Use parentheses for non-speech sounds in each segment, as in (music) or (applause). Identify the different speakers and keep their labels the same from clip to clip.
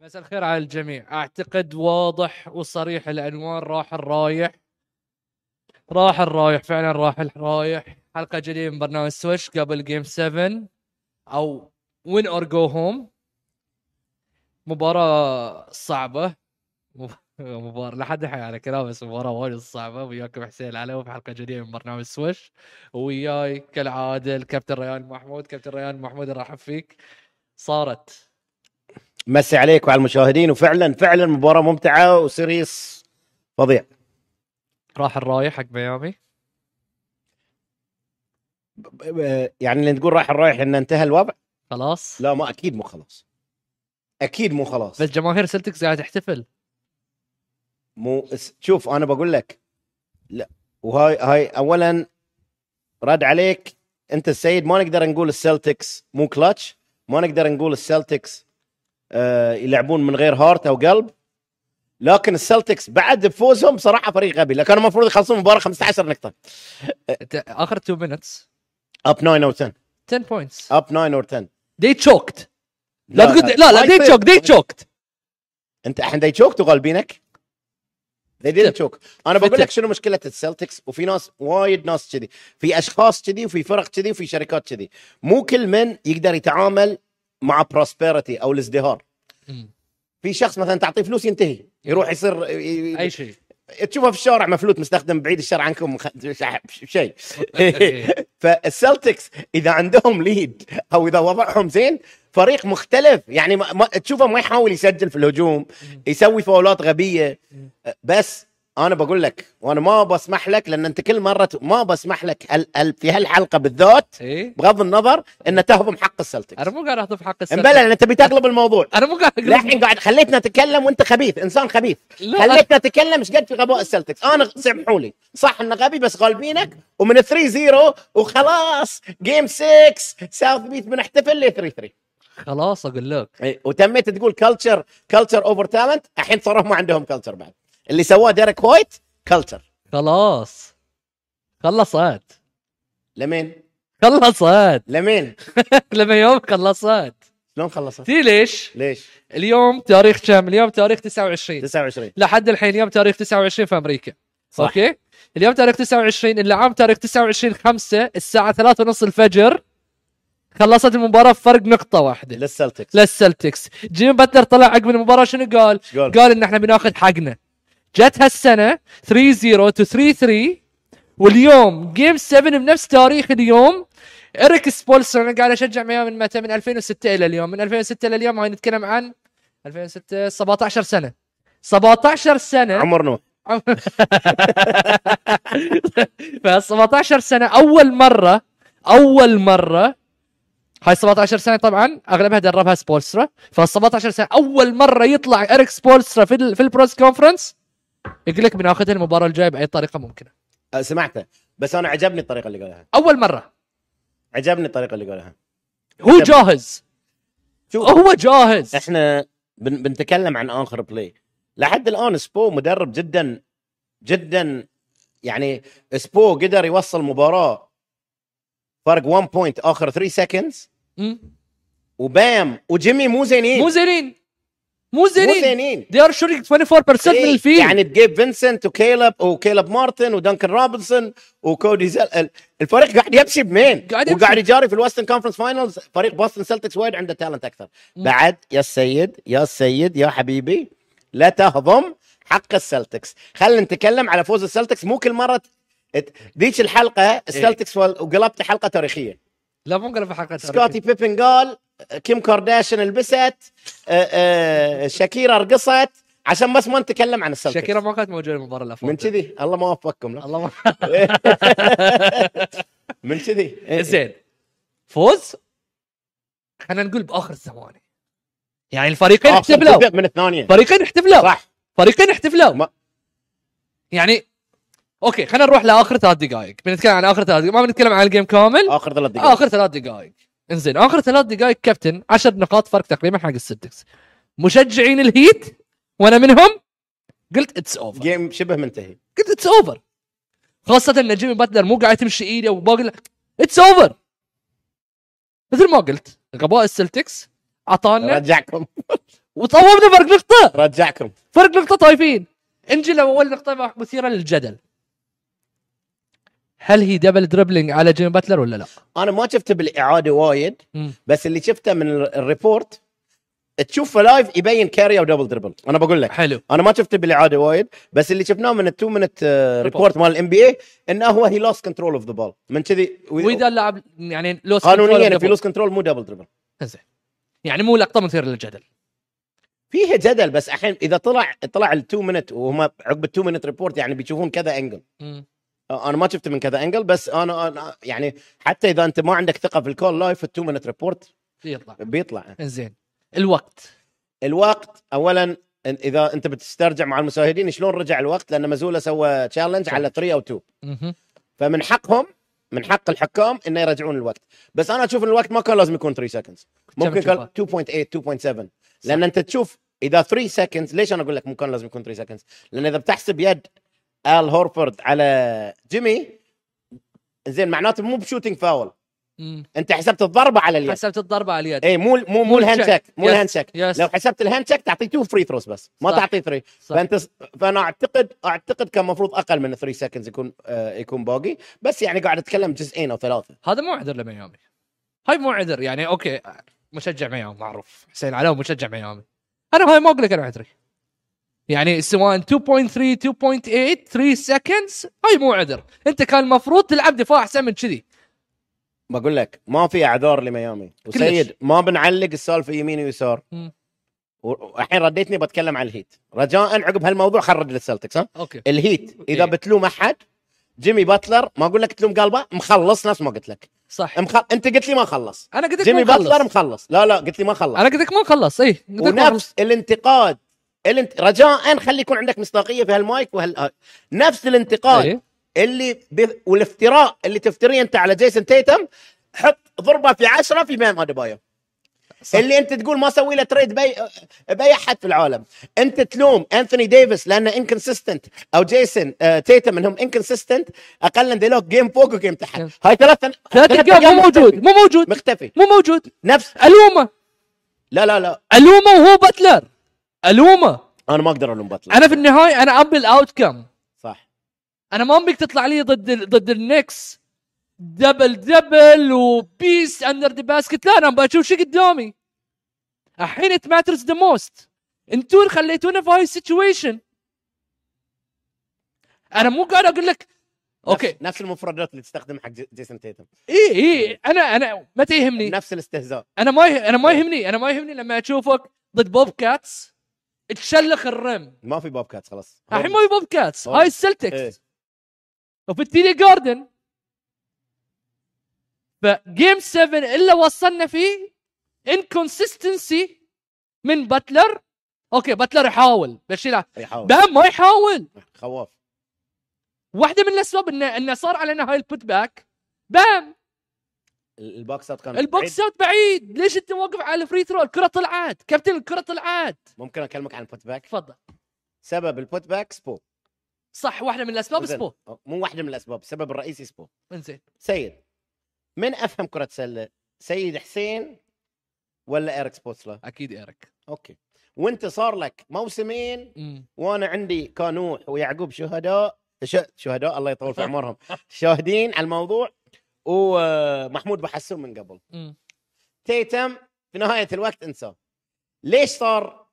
Speaker 1: مساء الخير على الجميع اعتقد واضح وصريح العنوان راح الرايح راح الرايح فعلا راح الرايح حلقه جديده من برنامج سويش قبل جيم 7 او وين اور جو هوم مباراه صعبه مب- (laughs) مباراة لا حد يحكي على كلام بس مباراة وايد صعبة وياكم حسين علوي في حلقة جديدة من برنامج سويش وياي كالعادة الكابتن ريان محمود كابتن ريان محمود ارحب فيك صارت
Speaker 2: مسي عليك وعلى المشاهدين وفعلا فعلا مباراه ممتعه وسيريس فظيع
Speaker 1: راح الرايح حق ميامي
Speaker 2: ب- ب- يعني اللي تقول راح رايح ان انتهى الوضع
Speaker 1: خلاص
Speaker 2: لا ما اكيد مو خلاص اكيد مو خلاص
Speaker 1: بس جماهير سلتكس قاعده تحتفل
Speaker 2: مو اس- شوف انا بقول لك لا وهاي هاي اولا رد عليك انت السيد ما نقدر نقول السلتكس مو كلتش ما نقدر نقول السلتكس آه يلعبون من غير هارت او قلب لكن السلتكس بعد بفوزهم صراحه فريق غبي لكن المفروض يخلصون المباراه 15 نقطه
Speaker 1: أنت اخر 2 minutes
Speaker 2: اب 9 او 10
Speaker 1: 10 points
Speaker 2: اب 9 اور 10
Speaker 1: they choked آه. لا تقول لا لا
Speaker 2: ما
Speaker 1: they
Speaker 2: يصير.
Speaker 1: choked they choked
Speaker 2: انت الحين they choked وغالبينك they didn't choke انا بقول
Speaker 1: فتر.
Speaker 2: لك شنو مشكله السلتكس وفي ناس وايد ناس كذي في اشخاص كذي وفي فرق كذي وفي شركات كذي مو كل من يقدر يتعامل مع بروسبيرتي او الازدهار
Speaker 1: مم.
Speaker 2: في شخص مثلا تعطيه فلوس ينتهي يروح يصير ي-
Speaker 1: اي شيء (laughs)
Speaker 2: تشوفه في الشارع مفلوت مستخدم بعيد الشر عنكم خ-
Speaker 1: (laughs)
Speaker 2: شيء
Speaker 1: إيه.
Speaker 2: فالسلتكس اذا عندهم ليد او اذا وضعهم زين فريق مختلف يعني ما ما تشوفه ما يحاول يسجل في الهجوم يسوي فاولات غبيه بس انا بقول لك وانا ما بسمح لك لان انت كل مره ت- ما بسمح لك هل هل في هالحلقه بالذات
Speaker 1: ايه
Speaker 2: بغض النظر ان تهضم حق
Speaker 1: انا
Speaker 2: السلتكس
Speaker 1: مو قاعد احط حق السلتكس
Speaker 2: امبلا لان تبي تقلب الموضوع
Speaker 1: انا مو قاعد أقول-
Speaker 2: للحين قاعد خليتنا نتكلم وانت خبيث انسان خبيث
Speaker 1: لا أنا-
Speaker 2: خليتنا نتكلم ايش قد في غباء السلتكس انا سامحوا لي صح انه غبي بس غالبينك ومن 3 0 وخلاص جيم 6 ساوث بيت بنحتفل ل 3 3
Speaker 1: خلاص اقول لك
Speaker 2: إي، وتميت تقول كلتشر كلتشر اوفر تالنت الحين صاروا ما عندهم كلتشر بعد اللي سواه ديريك وايت كلتشر
Speaker 1: خلاص خلصت
Speaker 2: لمين
Speaker 1: خلصت (laughs)
Speaker 2: لمين
Speaker 1: لما يوم خلصت
Speaker 2: شلون خلصت
Speaker 1: تي ليش
Speaker 2: ليش
Speaker 1: اليوم تاريخ كم اليوم تاريخ 29
Speaker 2: 29
Speaker 1: لحد الحين يوم تاريخ 29 في امريكا صح.
Speaker 2: صح.
Speaker 1: اوكي اليوم تاريخ 29 اللعام تاريخ 29 5 الساعه 3 ونص الفجر خلصت المباراه بفرق نقطه واحده
Speaker 2: للسلتكس
Speaker 1: للسلتكس جيم باتلر طلع عقب المباراه شنو قال
Speaker 2: قال؟
Speaker 1: قال ان احنا بناخذ حقنا جت هالسنه 3 0 تو 3 3 واليوم جيم 7 بنفس تاريخ اليوم اريك سبولسون انا قاعد اشجع ميامي من متى من 2006 الى اليوم من 2006 الى اليوم هاي نتكلم عن 2006 17 سنه 17 سنه
Speaker 2: عمر نوح
Speaker 1: ف 17 سنه اول مره اول مره هاي 17 سنه طبعا اغلبها دربها سبولسترا ف 17 سنه اول مره يطلع اريك سبولسترا في ال- في البروس كونفرنس يقول لك بناخذها المباراه الجايه باي طريقه ممكنه
Speaker 2: أه، سمعته بس انا عجبني الطريقه اللي قالها
Speaker 1: اول مره
Speaker 2: عجبني الطريقه اللي قالها
Speaker 1: هو جاهز
Speaker 2: شوف
Speaker 1: هو جاهز
Speaker 2: احنا بن بنتكلم عن اخر بلاي لحد الان سبو مدرب جدا جدا يعني سبو قدر يوصل مباراه فرق 1 بوينت اخر 3 سكندز
Speaker 1: مم.
Speaker 2: وبام وجيمي مو زينين
Speaker 1: مو زينين مو
Speaker 2: مو
Speaker 1: زينين
Speaker 2: زينين
Speaker 1: they are shooting 24% من
Speaker 2: إيه،
Speaker 1: الفيل
Speaker 2: يعني بجيب فينسنت وكيلب وكيلب مارتن ودنكن روبنسون وكودي زل ال- الفريق قاعد يمشي بمين
Speaker 1: قاعد يمشي.
Speaker 2: وقاعد يجاري في الوستن كونفرنس فاينلز فريق بوستن سلتكس وايد عنده تالنت اكثر بعد يا السيد يا السيد يا حبيبي لا تهضم حق السلتكس خلينا نتكلم على فوز السلتكس مو كل مره ت- ت- ذيك
Speaker 1: إيه.
Speaker 2: الحلقه السلتكس وال- وقلبت حلقه تاريخيه
Speaker 1: لا مو قلب حلقه
Speaker 2: سكوتي بيبن قال كيم كارداشيان لبست آه، آه، شاكيرا رقصت عشان بس ما نتكلم عن السلتكس
Speaker 1: شاكيرا ما كانت موجوده المباراه اللي
Speaker 2: من
Speaker 1: فاتت
Speaker 2: كذي الله ما
Speaker 1: (laughs)
Speaker 2: وفقكم لا
Speaker 1: الله
Speaker 2: (laughs) من كذي إيه.
Speaker 1: ما إيه، زين فوز خلينا نقول باخر الثواني يعني الفريقين
Speaker 2: آخر
Speaker 1: احتفلوا
Speaker 2: تبدأ من الثانيه
Speaker 1: فريقين احتفلوا
Speaker 2: صح
Speaker 1: فريقين احتفلوا
Speaker 2: ما-
Speaker 1: يعني اوكي خلينا نروح لاخر ثلاث دقائق بنتكلم عن اخر ثلاث دقائق ما بنتكلم عن الجيم كامل
Speaker 2: اخر ثلاث دقائق
Speaker 1: اخر ثلاث دقائق انزين اخر ثلاث دقائق كابتن عشر نقاط فرق تقريبا حق السلتكس مشجعين الهيت وانا منهم قلت اتس اوفر
Speaker 2: جيم شبه منتهي
Speaker 1: قلت اتس اوفر خاصة ان جيمي باتلر مو قاعد تمشي ايده وباقي اتس اوفر مثل ما قلت غباء السلتكس عطانا
Speaker 2: رجعكم
Speaker 1: وطوبنا فرق نقطه
Speaker 2: رجعكم
Speaker 1: فرق نقطه طايفين انجلو اول نقطه مثيره للجدل هل هي دبل دربلينج على جيم باتلر ولا لا؟
Speaker 2: انا ما شفته بالاعاده وايد
Speaker 1: مم.
Speaker 2: بس اللي شفته من ال- الريبورت تشوفه لايف يبين كاري او دبل دربل انا بقول لك
Speaker 1: طيب. حلو
Speaker 2: انا ما شفته بالاعاده وايد بس اللي شفناه من التو منت ريبورت مال الام بي اي انه هو هي لوست كنترول اوف ذا بال من كذي
Speaker 1: واذا اللاعب يعني لوس
Speaker 2: قانونيا
Speaker 1: كنترول
Speaker 2: في لوس كنترول مو دبل دربل
Speaker 1: زين. يعني مو لقطه مثيره للجدل
Speaker 2: فيها جدل بس الحين اذا طلع طلع التو منت وهم عقب التو منت ريبورت يعني بيشوفون كذا انجل
Speaker 1: مم.
Speaker 2: انا ما شفته من كذا انجل بس انا, أنا يعني حتى اذا انت ما عندك ثقه في الكول لايف التو منت ريبورت
Speaker 1: يطلع
Speaker 2: بيطلع
Speaker 1: زين الوقت
Speaker 2: الوقت اولا إن- اذا انت بتسترجع مع المشاهدين شلون رجع الوقت لان مزوله سوى تشالنج على 3 او 2
Speaker 1: مهم.
Speaker 2: فمن حقهم من حق الحكام انه يرجعون الوقت بس انا اشوف ان الوقت ما كان لازم يكون 3 سكندز ممكن كان 2.8 2.7 لان انت تشوف اذا 3 سكندز ليش انا اقول لك مو كان لازم يكون 3 سكندز لان اذا بتحسب يد ال هورفورد على جيمي زين معناته مو بشوتنج فاول
Speaker 1: مم.
Speaker 2: انت حسبت الضربه على اليد
Speaker 1: حسبت الضربه على اليد
Speaker 2: اي مو مو مو الهاند
Speaker 1: الشك.
Speaker 2: شيك مو
Speaker 1: يس.
Speaker 2: الهاند شيك
Speaker 1: يس
Speaker 2: لو حسبت الهاند شيك تعطي 2 فري ثروز بس ما
Speaker 1: صح.
Speaker 2: تعطي 3
Speaker 1: صح.
Speaker 2: فانت فانا اعتقد اعتقد كان المفروض اقل من 3 سكندز يكون آه يكون باقي بس يعني قاعد اتكلم جزئين او ثلاثه
Speaker 1: هذا مو عذر لميامي هاي مو عذر يعني اوكي مشجع ميامي معروف حسين علاوي مشجع ميامي انا هاي ما اقول لك انا عذري يعني سواء 2.3 2.8 3 سكندز هاي مو عذر انت كان المفروض تلعب دفاع احسن من كذي
Speaker 2: بقول لك ما في اعذار لميامي وسيد ما بنعلق السالفه يمين ويسار
Speaker 1: مم.
Speaker 2: و- والحين رديتني بتكلم عن الهيت رجاء عقب هالموضوع خرج للسلتكس ها
Speaker 1: اوكي
Speaker 2: الهيت اذا
Speaker 1: إيه.
Speaker 2: بتلوم احد جيمي باتلر ما اقول لك تلوم قلبه مخلص نفس ما قلت لك
Speaker 1: صح
Speaker 2: مخ... انت قلت لي ما خلص
Speaker 1: انا قلت لك
Speaker 2: جيمي
Speaker 1: ما
Speaker 2: باتلر
Speaker 1: خلص
Speaker 2: مخلص لا لا قلت لي ما خلص
Speaker 1: انا قلت لك ما خلص اي قلت لك ما خلص.
Speaker 2: ونفس الانتقاد الانت... رجاء خلي يكون عندك مصداقيه في هالمايك وهال نفس الانتقاد
Speaker 1: إيه.
Speaker 2: اللي ب... والافتراء اللي تفتريه انت على جيسون تيتم حط ضربه في عشرة في بام اديبايو
Speaker 1: صح.
Speaker 2: اللي انت تقول ما سوي له تريد باي باي احد في العالم انت تلوم انثوني ديفيس لانه انكونسيستنت او جيسون آه تيتم انهم انكونسيستنت اقل ديلوك جيم فوق وجيم تحت
Speaker 1: Yes.
Speaker 2: هاي ثلاث
Speaker 1: ثلاث ايام مو موجود مو موجود
Speaker 2: مختفي
Speaker 1: مو موجود
Speaker 2: نفس
Speaker 1: الومه
Speaker 2: لا لا لا
Speaker 1: الومه وهو باتلر الومه
Speaker 2: انا ما اقدر الوم بطل
Speaker 1: انا في النهايه انا ابي الاوت كم
Speaker 2: صح
Speaker 1: انا ما امبيك تطلع لي ضد ال- ضد النكس دبل دبل وبيس اندر ذا باسكت لا انا بشوف شو قدامي الحين ات ماترز ذا موست انتوا اللي خليتونا في هاي السيتويشن انا مو قاعد اقول لك اوكي
Speaker 2: نفس, نفس المفردات اللي تستخدم حق جي- جيسون تيتم
Speaker 1: اي اي انا انا إيه، ما تهمني
Speaker 2: نفس الاستهزاء
Speaker 1: انا ما يه... انا ما يهمني انا ما يهمني لما اشوفك ضد بوب كاتس تشلخ الرم
Speaker 2: ما في بوب كات خلاص
Speaker 1: الحين ما في بوب كاتس هاي
Speaker 2: طيب. إيه.
Speaker 1: السلتكس وفي التيلي جاردن فجيم 7 الا وصلنا فيه انكونسستنسي من باتلر اوكي باتلر يحاول بس يلعب
Speaker 2: يحاول
Speaker 1: بام ما يحاول
Speaker 2: خواف
Speaker 1: واحده من الاسباب انه انه صار علينا هاي البوت باك بام
Speaker 2: ال- البوكسات كان بعيد.
Speaker 1: البوكسات بعيد ليش انت واقف على الفري ثرو الكره طلعت كابتن الكره طلعت
Speaker 2: ممكن اكلمك عن البوت باك
Speaker 1: تفضل
Speaker 2: سبب البوت باك سبو
Speaker 1: صح واحده من الاسباب
Speaker 2: زين.
Speaker 1: سبو
Speaker 2: مو واحده من الاسباب السبب الرئيسي سبو
Speaker 1: انزين
Speaker 2: سيد من افهم كره سله سيد حسين ولا اريك سبوتسلا
Speaker 1: اكيد ايرك
Speaker 2: اوكي وانت صار لك موسمين
Speaker 1: مم.
Speaker 2: وانا عندي كانوح ويعقوب شهداء ش- شهداء الله يطول في عمرهم شاهدين على الموضوع آه، ومحمود بحسون من قبل
Speaker 1: مم.
Speaker 2: تيتم في نهايه الوقت انساه ليش صار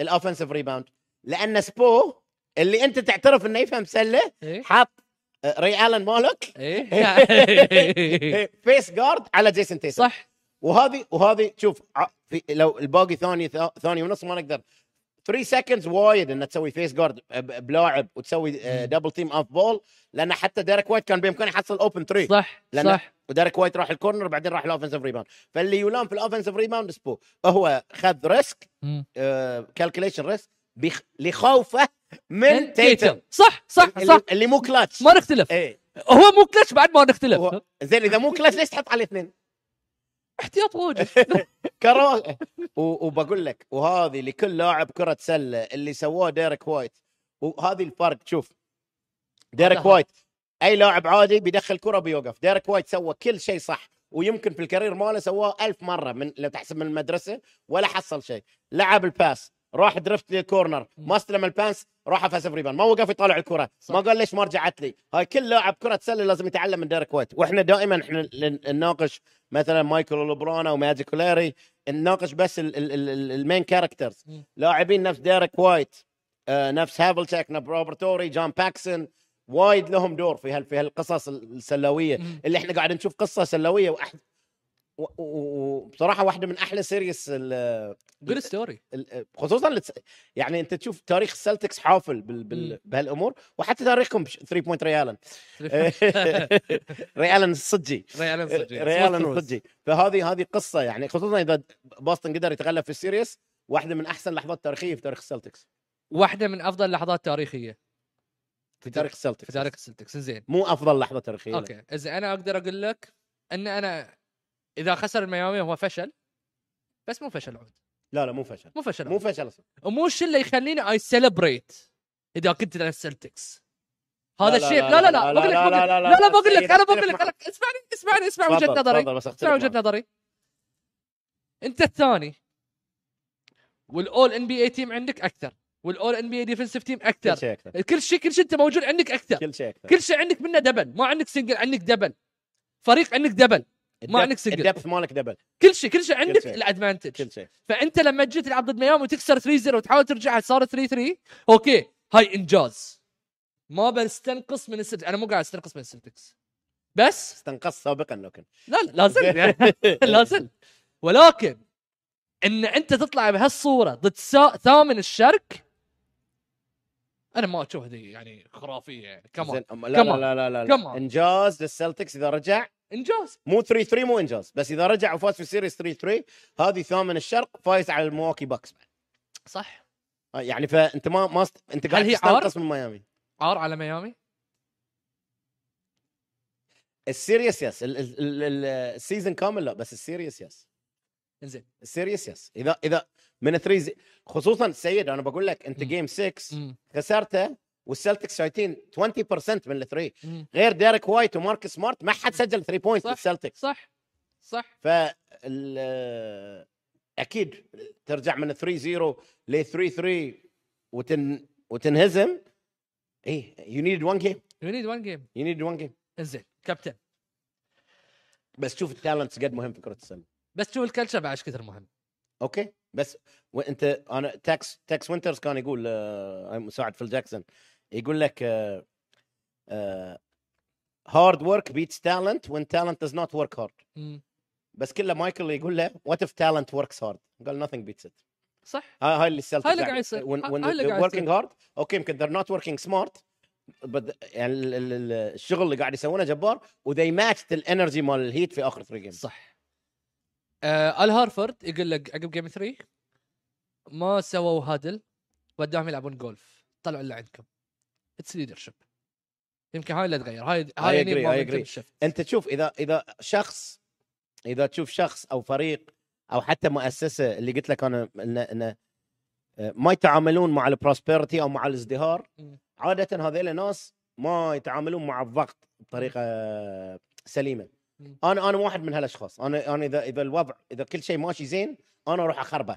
Speaker 2: الاوفنسيف ريباوند لان سبو اللي انت تعترف انه يفهم سله
Speaker 1: ايه
Speaker 2: حاط آه، ري الن مالك
Speaker 1: إيه؟
Speaker 2: (laughs)
Speaker 1: ايه
Speaker 2: فيس جارد على جيسون تيتم
Speaker 1: صح
Speaker 2: وهذه وهذه شوف ع- في لو الباقي ثاني ثا- ثاني ونص ما نقدر 3 سكندز وايد انك تسوي فيس جارد بلاعب وتسوي آه،
Speaker 1: مم.
Speaker 2: دبل تيم اوف بول لان حتى ديريك وايت كان بامكانه يحصل اوبن 3
Speaker 1: صح
Speaker 2: لأن-
Speaker 1: صح
Speaker 2: وديريك وايت راح الكورنر بعدين راح الاوفنسيف ريباوند فاللي يلام في الاوفنسيف ريباوند سبو هو خذ ريسك
Speaker 1: مم.
Speaker 2: كالكوليشن ريسك بخ... لخوفه من تيتم
Speaker 1: صح صح صح
Speaker 2: (laughs) اللي, اللي مو كلاتش
Speaker 1: ما نختلف
Speaker 2: ايه
Speaker 1: هو مو كلتش بعد ما نختلف
Speaker 2: هو- زين اذا مو كلاتش ليش تحط عليه اثنين؟
Speaker 1: احتياط واجد
Speaker 2: (laughs) كرو (laughs) و- وبقول لك وهذه لكل لاعب كره سله اللي سواه ديريك وايت وهذه الفرق شوف ديريك
Speaker 1: هذا-
Speaker 2: وايت اي لاعب عادي بيدخل كره بيوقف ديريك وايت سوى كل شيء صح ويمكن في الكارير ماله سواه ألف مره من لو تحسب من المدرسه ولا حصل شيء لعب الباس راح درفت للكورنر ما استلم الباس راح فسف ريبان ما وقف يطالع الكره
Speaker 1: صح.
Speaker 2: ما قال ليش ما رجعت لي هاي كل لاعب كره سله لازم يتعلم من ديريك وايت واحنا دائما احنا ل- نناقش مثلا مايكل لوبرون او ماجيك كولاري نناقش بس ال- ال- ال- ال- المين كاركترز
Speaker 1: مم.
Speaker 2: لاعبين نفس ديريك وايت آه، نفس هافلتشاك نفس روبرتوري جون باكسون وايد لهم دور في هال في هالقصص ال- السلويه
Speaker 1: مم.
Speaker 2: اللي احنا قاعد نشوف قصه سلويه واحد و- و- و- وبصراحه واحده من احلى سيريس ال-
Speaker 1: جود ستوري
Speaker 2: ال- خصوصا لتس... يعني انت تشوف تاريخ السلتكس حافل بال...
Speaker 1: مم.
Speaker 2: بال... بهالامور وحتى تاريخكم 3 بوينت
Speaker 1: (laughs)
Speaker 2: (laughs) ريالن إيه. ريالن الصجي
Speaker 1: ريال صدقي
Speaker 2: ريال الصجي فهذه هذه قصه يعني خصوصا اذا باستن قدر يتغلب في السيريس واحده من احسن لحظات تاريخيه في تاريخ السلتكس
Speaker 1: واحده من افضل لحظات تاريخيه
Speaker 2: في تاريخ السلتكس
Speaker 1: في تاريخ السلتكس زين
Speaker 2: مو افضل لحظه تاريخيه لا.
Speaker 1: اوكي اذا انا اقدر اقول لك ان انا اذا خسر الميامي هو فشل بس مو فشل عود
Speaker 2: لا لا مو فشل
Speaker 1: مو فشل
Speaker 2: مو
Speaker 1: عود.
Speaker 2: فشل اصلا
Speaker 1: ومو الشيء اللي يخليني اي سيلبريت اذا كنت انا السلتكس هذا
Speaker 2: لا،
Speaker 1: الشيء لا لا لا بقول لك بقول لك- لا لا بقول لك انا بقول لك
Speaker 2: أختلف معك.
Speaker 1: أنا- اسمعني اسمعني اسمع
Speaker 2: تفضل،
Speaker 1: وجهه نظري
Speaker 2: تفضل، بس أختلف
Speaker 1: اسمع وجهه
Speaker 2: معك.
Speaker 1: نظري انت الثاني والاول ان بي اي تيم عندك اكثر والاول ان بي اي ديفنسيف تيم
Speaker 2: كل
Speaker 1: اكثر
Speaker 2: شيء اكثر
Speaker 1: كل شيء كل شيء انت موجود عندك اكثر
Speaker 2: كل شيء اكثر
Speaker 1: كل شيء عندك منه دبل ما عندك سنجل عندك دبل فريق عندك دبل ما عندك سجل.
Speaker 2: الدبث مالك دبل
Speaker 1: كل شيء كل شيء عندك
Speaker 2: شيء.
Speaker 1: الادفانتج
Speaker 2: كل شيء
Speaker 1: فانت لما تجي تلعب ضد ميامي وتكسر 3 0 وتحاول ترجعها صار 3 3 اوكي هاي انجاز ما بستنقص من السلتكس انا مو قاعد استنقص من السلتكس بس
Speaker 2: استنقص سابقا لو كنت
Speaker 1: لا لا لا
Speaker 2: (laughs)
Speaker 1: زلت يعني لا زلت ولكن ان انت تطلع بهالصوره ضد سا... ثامن الشرق انا ما اشوف هذه يعني خرافيه يعني كمان
Speaker 2: زين، أم- لا
Speaker 1: Come on.
Speaker 2: لا لا لا,
Speaker 1: Come on.
Speaker 2: لا. انجاز للسلتكس اذا رجع
Speaker 1: انجاز
Speaker 2: مو 3 3 مو انجاز بس اذا رجع وفاز في سيريس 3 3 هذه ثامن الشرق فايز على المواكي باكس
Speaker 1: صح
Speaker 2: آه، يعني فانت ما ما است... انت قاعد
Speaker 1: هي عار؟
Speaker 2: تستنقص من ميامي
Speaker 1: عار على ميامي
Speaker 2: السيريس يس ال- ال- ال- ال- السيزون كامل لا بس السيريس يس
Speaker 1: انزين
Speaker 2: السيريس يس اذا اذا من ثريز خصوصا سيد انا بقول لك انت
Speaker 1: مم.
Speaker 2: جيم 6
Speaker 1: مم.
Speaker 2: خسرته والسلتكس شايتين 20% من الثري
Speaker 1: مم.
Speaker 2: غير ديريك وايت ومارك سمارت ما حد سجل 3 بوينت
Speaker 1: صح.
Speaker 2: للسلتكس
Speaker 1: صح صح
Speaker 2: ف ال- اكيد ترجع من 3 0 ل 3 3 وتن وتنهزم إيه، اي يو نيد وان جيم
Speaker 1: يو نيد وان جيم
Speaker 2: يو نيد وان جيم
Speaker 1: انزين كابتن
Speaker 2: بس شوف التالنت قد مهم في كره السله
Speaker 1: بس شوف الكلتشر بعد ايش كثر مهم
Speaker 2: اوكي بس وانت انا تاكس تاكس وينترز كان يقول آه، مساعد فيل جاكسون يقول لك آه، هارد ورك بيتس تالنت وين تالنت does not work hard
Speaker 1: مم.
Speaker 2: بس كله مايكل يقول له وات اف تالنت وركس هارد قال nothing beats it
Speaker 1: صح
Speaker 2: هاي هاي اللي السلتكس
Speaker 1: هاي اللي قاعد يصير.
Speaker 2: when,
Speaker 1: هاي
Speaker 2: when
Speaker 1: اللي
Speaker 2: they're
Speaker 1: قاعد يصير.
Speaker 2: working hard اوكي يمكن they're not working smart but يعني ال- ال- ال- الشغل اللي قاعد يسوونه جبار وذي ماتشت الانرجي مال الهيت في اخر 3 جيمز
Speaker 1: صح آه ال هارفرد يقول لك عقب جيم 3 ما سووا هادل وداهم يلعبون جولف طلعوا اللي عندكم اتس ليدرشيب يمكن هاي اللي تغير هاي هاي
Speaker 2: I agree, I
Speaker 1: momentum
Speaker 2: agree.
Speaker 1: shift.
Speaker 2: انت تشوف اذا اذا شخص اذا تشوف شخص او فريق او حتى مؤسسه اللي قلت لك انا انه إن آه، ما يتعاملون مع البروسبرتي او مع الازدهار
Speaker 1: مم.
Speaker 2: عاده هذول الناس ما يتعاملون مع الضغط بطريقه سليمه
Speaker 1: مم.
Speaker 2: انا انا واحد من هالاشخاص انا انا اذا اذا الوضع اذا كل شيء ماشي زين انا اروح اخربه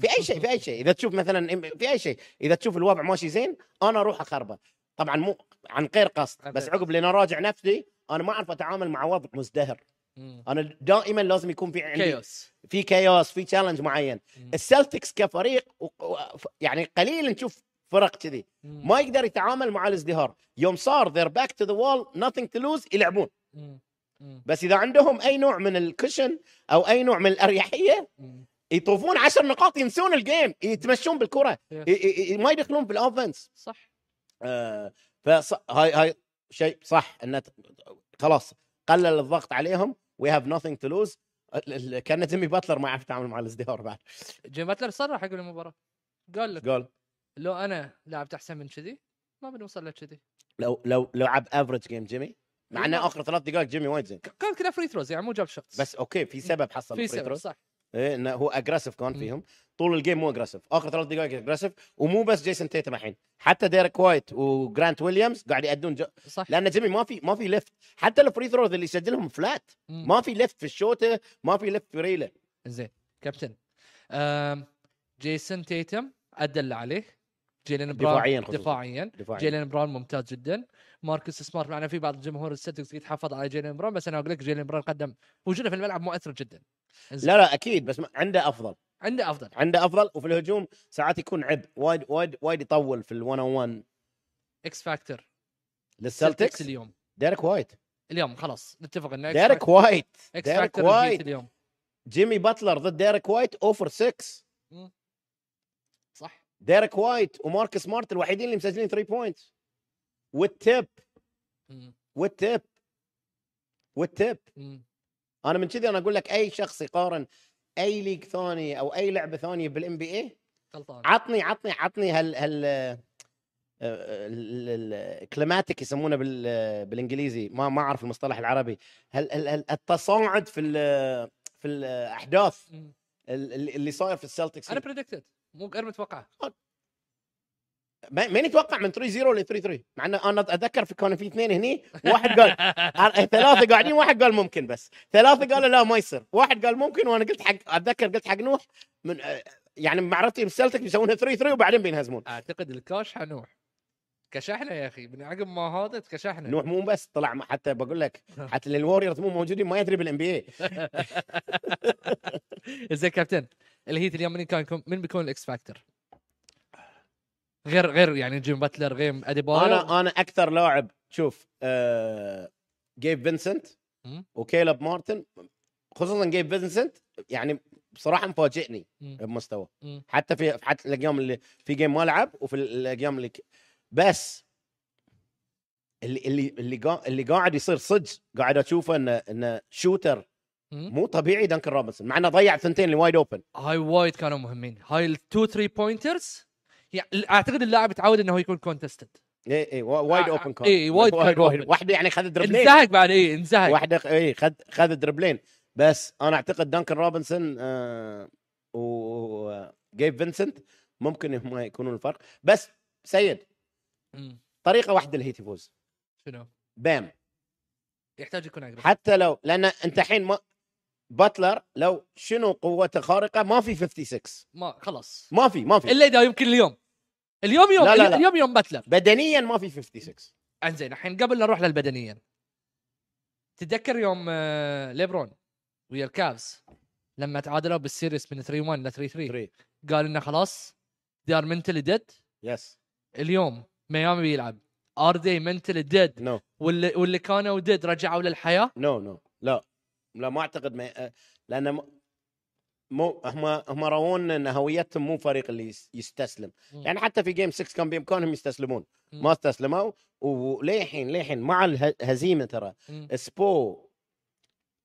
Speaker 2: في اي شيء في اي شيء اذا تشوف مثلا في اي شيء اذا تشوف الوضع ماشي زين انا اروح اخربه طبعا مو عن غير قصد
Speaker 1: عن
Speaker 2: بس
Speaker 1: غير
Speaker 2: عقب لين اراجع نفسي انا ما اعرف اتعامل مع وضع مزدهر
Speaker 1: مم.
Speaker 2: انا دائما لازم يكون في عندي
Speaker 1: كيوس
Speaker 2: في كياس في تشالنج معين
Speaker 1: مم.
Speaker 2: السلتكس كفريق و- و- يعني قليل نشوف فرق كذي
Speaker 1: مم.
Speaker 2: ما يقدر يتعامل مع الازدهار يوم صار ذير باك تو ذا وول nothing تو لوز يلعبون
Speaker 1: مم. مم.
Speaker 2: بس اذا عندهم اي نوع من الكشن او اي نوع من الاريحيه
Speaker 1: مم.
Speaker 2: يطوفون عشر نقاط ينسون الجيم يتمشون بالكره
Speaker 1: Yeah.
Speaker 2: ي- ي- ي- ما يدخلون بالاوفنس
Speaker 1: إيه. صح
Speaker 2: آه، فص هاي هاي شيء صح انه ت- خلاص قلل الضغط عليهم وي هاف nothing تو لوز كان تيمي باتلر ما يعرف يتعامل مع
Speaker 1: (laughs)
Speaker 2: الازدهار بعد
Speaker 1: جيم باتلر صرح قبل المباراه قال لك
Speaker 2: قول
Speaker 1: لو انا لعبت احسن من كذي ما بنوصل لكذي
Speaker 2: لو لو لو لعب افريج جيم جيمي مع انه
Speaker 1: ما-
Speaker 2: اخر ثلاث دقائق جيمي وايد زين
Speaker 1: كان كلها فري ثروز يعني مو جاب شوتس
Speaker 2: بس اوكي في سبب حصل
Speaker 1: في
Speaker 2: الفري
Speaker 1: سبب
Speaker 2: ثرو.
Speaker 1: صح إيه.
Speaker 2: إيه انه هو اجريسيف كان فيهم طول الجيم مو اجريسيف اخر ثلاث دقائق اجريسيف ومو بس جيسون تيتم الحين حتى ديريك وايت وجرانت ويليامز قاعد يأدون جو...
Speaker 1: صح
Speaker 2: لان جيمي ما في ما في ليفت حتى الفري ثروز اللي يسجلهم فلات
Speaker 1: مم.
Speaker 2: ما في ليفت في الشوطه ما في ليفت في ريله
Speaker 1: زين كابتن أم، جيسون تيتم ادى اللي عليه جيلين براون
Speaker 2: دفاعياً خصوصاً.
Speaker 1: دفاعيا
Speaker 2: دفاعيا
Speaker 1: جيلين براون ممتاز جدا ماركوس سمارت معنا في بعض الجمهور السلتكس يتحفظ على جيلين براون بس انا اقول لك جيلين براون قدم وجوده في الملعب مؤثر جدا
Speaker 2: لا لا اكيد بس ما- عنده افضل
Speaker 1: عنده افضل
Speaker 2: عنده افضل وفي الهجوم ساعات يكون عبء وايد وايد وايد يطول في ال1 اون 1
Speaker 1: اكس فاكتور
Speaker 2: للسلتكس
Speaker 1: اليوم
Speaker 2: ديريك وايت
Speaker 1: اليوم خلاص نتفق انه
Speaker 2: ديريك وايت
Speaker 1: اكس
Speaker 2: ديريك
Speaker 1: فاكتور الهيت
Speaker 2: وايد.
Speaker 1: اليوم
Speaker 2: جيمي باتلر ضد ديريك وايت oh اوفر 6
Speaker 1: صح
Speaker 2: ديريك وايت ومارك سمارت الوحيدين اللي مسجلين 3 بوينت والتيب
Speaker 1: مم.
Speaker 2: والتيب والتيب
Speaker 1: مم.
Speaker 2: انا من كذي انا اقول لك اي شخص يقارن اي ليج ثاني او اي لعبه ثانيه بالام بي اي
Speaker 1: غلطان
Speaker 2: عطني عطني عطني هال آه، هال الكلماتيك يسمونه بال بالانجليزي ما ما اعرف المصطلح العربي هل هل- هل التصاعد في ال في الاحداث
Speaker 1: مم.
Speaker 2: ال- ال- اللي صاير في السلتكس
Speaker 1: انا بريدكتد مو غير
Speaker 2: (laughs)
Speaker 1: متوقعه
Speaker 2: ما- مين يتوقع من 3 0 ل 3 3 مع انه انا اتذكر في كان في اثنين هني واحد
Speaker 1: (laughs)
Speaker 2: قال أر- ثلاثه قاعدين واحد قال ممكن بس ثلاثه قالوا لا ما يصير واحد قال ممكن وانا قلت حق اتذكر قلت حق نوح من آه، يعني معرفتي بالسلتك بيسوونها 3 3 وبعدين بينهزمون
Speaker 1: اعتقد الكاش حنوح كشحنا يا اخي من عقب ما هذا تكشحنا
Speaker 2: نوح مو بس طلع مع- حتى بقول لك حتى اللي الوريورز مو موجودين ما يدري بالان بي اي
Speaker 1: زين كابتن الهيت اليوم من كان يكون- من بيكون الاكس فاكتور؟ غير غير يعني جيم باتلر غير اديبايو
Speaker 2: انا انا اكثر لاعب شوف آه جيب فينسنت
Speaker 1: مم.
Speaker 2: وكيلب مارتن خصوصا جيب فينسنت يعني بصراحه مفاجئني بمستوى
Speaker 1: مم.
Speaker 2: حتى في حتى الايام اللي في جيم ما لعب وفي الايام اللي ك- بس اللي اللي اللي, قا... اللي قاعد يصير صدق قاعد اشوفه انه انه شوتر
Speaker 1: مم.
Speaker 2: مو طبيعي دانكن روبنسون مع انه ضيع ثنتين اللي وايد اوبن
Speaker 1: هاي وايد كانوا مهمين هاي التو ثري بوينترز يعني اعتقد اللاعب تعود انه هو يكون كونتستد
Speaker 2: اي اي وا- وايد
Speaker 1: آه،
Speaker 2: اوبن كان (laughs)
Speaker 1: إي، وايد كان
Speaker 2: وايد-
Speaker 1: open.
Speaker 2: واحده يعني خذ دربلين
Speaker 1: انزهق بعد إيه، اي انزهق
Speaker 2: واحده اي خذ خذ دربلين بس انا اعتقد دانكن روبنسون آه وجيف فينسنت ممكن هم يكونون الفرق بس سيد
Speaker 1: مم.
Speaker 2: طريقه واحده الهيت يفوز
Speaker 1: شنو
Speaker 2: بام
Speaker 1: يحتاج يكون اقرب
Speaker 2: حتى لو لان انت الحين ما باتلر لو شنو قوته خارقه ما في 56
Speaker 1: ما خلاص
Speaker 2: ما في ما في
Speaker 1: الا اذا يمكن اليوم اليوم يوم
Speaker 2: لا، لا، لا.
Speaker 1: اليوم يوم باتلر
Speaker 2: بدنيا ما في 56
Speaker 1: انزين الحين قبل لا نروح للبدنيا تتذكر يوم آه، ليبرون ويا الكافز لما تعادلوا بالسيريس من 3 1 ل 3 3
Speaker 2: 3
Speaker 1: قال انه خلاص دار منتلي ديد
Speaker 2: يس
Speaker 1: اليوم ميامي بيلعب ار دي منتلي ديد
Speaker 2: نو
Speaker 1: واللي واللي كانوا ديد رجعوا للحياه
Speaker 2: نو نو لا لا ما اعتقد ما آه، لان م- مو هم هم راون ان هويتهم مو فريق اللي يس- يستسلم
Speaker 1: مم.
Speaker 2: يعني حتى في جيم 6 كان بامكانهم يستسلمون
Speaker 1: مم.
Speaker 2: ما استسلموا وللحين للحين مع الهزيمه ترى
Speaker 1: مم.
Speaker 2: سبو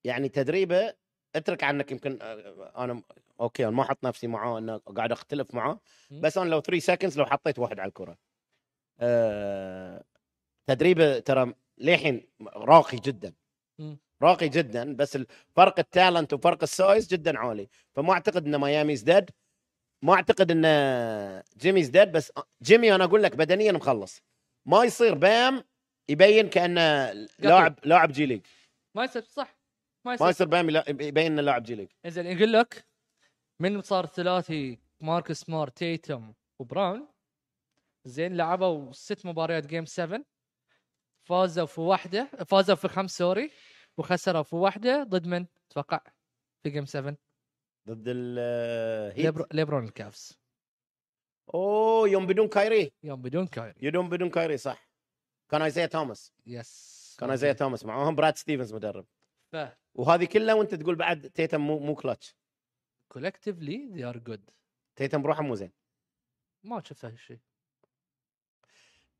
Speaker 2: يعني تدريبه اترك عنك يمكن آه، انا م- اوكي انا ما احط نفسي معاه انه قاعد اختلف معاه
Speaker 1: مم.
Speaker 2: بس انا لو 3 سكندز لو حطيت واحد على الكره أه تدريبه ترى للحين راقي جدا
Speaker 1: مم.
Speaker 2: راقي جدا بس ال- فرق التالنت وفرق السايز جدا عالي فما اعتقد ان مياميز ديد ما اعتقد ان جيميز ديد بس جيمي انا اقول لك بدنيا مخلص ما يصير بام يبين كانه لاعب لاعب جي ليج
Speaker 1: ما يصير صح ما
Speaker 2: ما
Speaker 1: يصير
Speaker 2: يصير بام يلا- يبين انه لاعب جي ليج
Speaker 1: انزين يقول لك من صار ثلاثي ماركس سمارت تيتم وبراون زين لعبوا ست مباريات جيم 7 فازوا في واحده فازوا في خمس سوري وخسروا في واحده ضد من تتوقع في جيم 7
Speaker 2: إيه. ضد الهيت
Speaker 1: ليبرو ليبرون الكافز
Speaker 2: اوه يوم بدون كايري
Speaker 1: يوم بدون كايري
Speaker 2: يوم بدون كايري صح كان ايزايا توماس
Speaker 1: يس
Speaker 2: كان ايزايا توماس معاهم براد ستيفنز مدرب
Speaker 1: ف
Speaker 2: وهذه كلها وانت تقول بعد تيتم مو مو كلتش
Speaker 1: كولكتيفلي ذي ار جود
Speaker 2: تيتم بروحه مو زين
Speaker 1: ما شفت هالشيء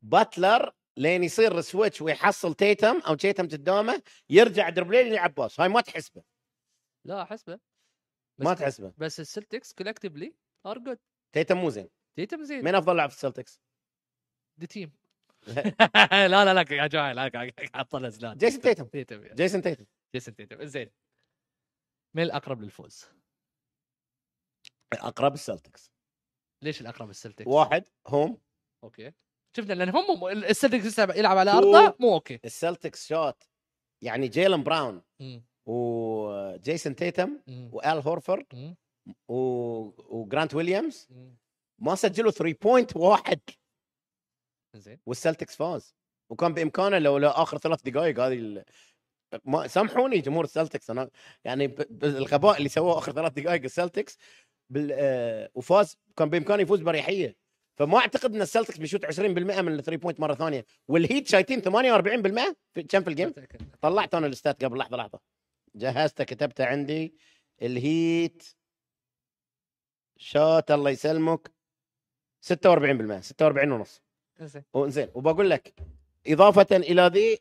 Speaker 2: باتلر لين يصير سويتش ويحصل تيتم او تيتم قدامه يرجع دربلين يلعب باص هاي ما تحسبه
Speaker 1: لا احسبه بس
Speaker 2: ما تحسبه
Speaker 1: بس السلتكس كولكتيفلي ار جود
Speaker 2: تيتم مو زين
Speaker 1: تيتم زين
Speaker 2: مين افضل لاعب في السلتكس؟
Speaker 1: ذا
Speaker 2: (laughs)
Speaker 1: تيم
Speaker 2: لا.
Speaker 1: لا (laughs) لا لا يا جماعه لا حط لنا زلات
Speaker 2: جيسون تيتم
Speaker 1: تيتم يا.
Speaker 2: جيسون تيتم
Speaker 1: جيسون تيتم زين مين الاقرب للفوز؟
Speaker 2: اقرب السلتكس
Speaker 1: ليش الاقرب السلتكس؟
Speaker 2: واحد هوم
Speaker 1: اوكي شفنا لان هم مو- السلتكس لسه يلعب على ارضه مو اوكي
Speaker 2: السلتكس شوت يعني جيلن براون
Speaker 1: مم.
Speaker 2: وجيسون تيتم
Speaker 1: مم.
Speaker 2: وال هورفورد
Speaker 1: مم.
Speaker 2: و... وجرانت ويليامز
Speaker 1: مم.
Speaker 2: ما سجلوا 3 بوينت واحد
Speaker 1: زين
Speaker 2: والسلتكس فاز وكان بامكانه لو لا اخر ثلاث دقائق هذه ال... ما سامحوني جمهور السلتكس انا يعني ب... بالغباء اللي سووه اخر ثلاث دقائق السلتكس بال... آه... وفاز كان بامكانه يفوز بريحيه فما اعتقد ان السلتكس بيشوت 20% من الثري بوينت مره ثانيه والهيت شايتين 48% في كم في الجيم؟
Speaker 1: أتأكد.
Speaker 2: طلعت انا الاستات قبل لحظه لحظه جهزته كتبته عندي الهيت شات الله يسلمك 46% 46 ونص
Speaker 1: زين
Speaker 2: وانزين وبقول لك اضافه الى ذي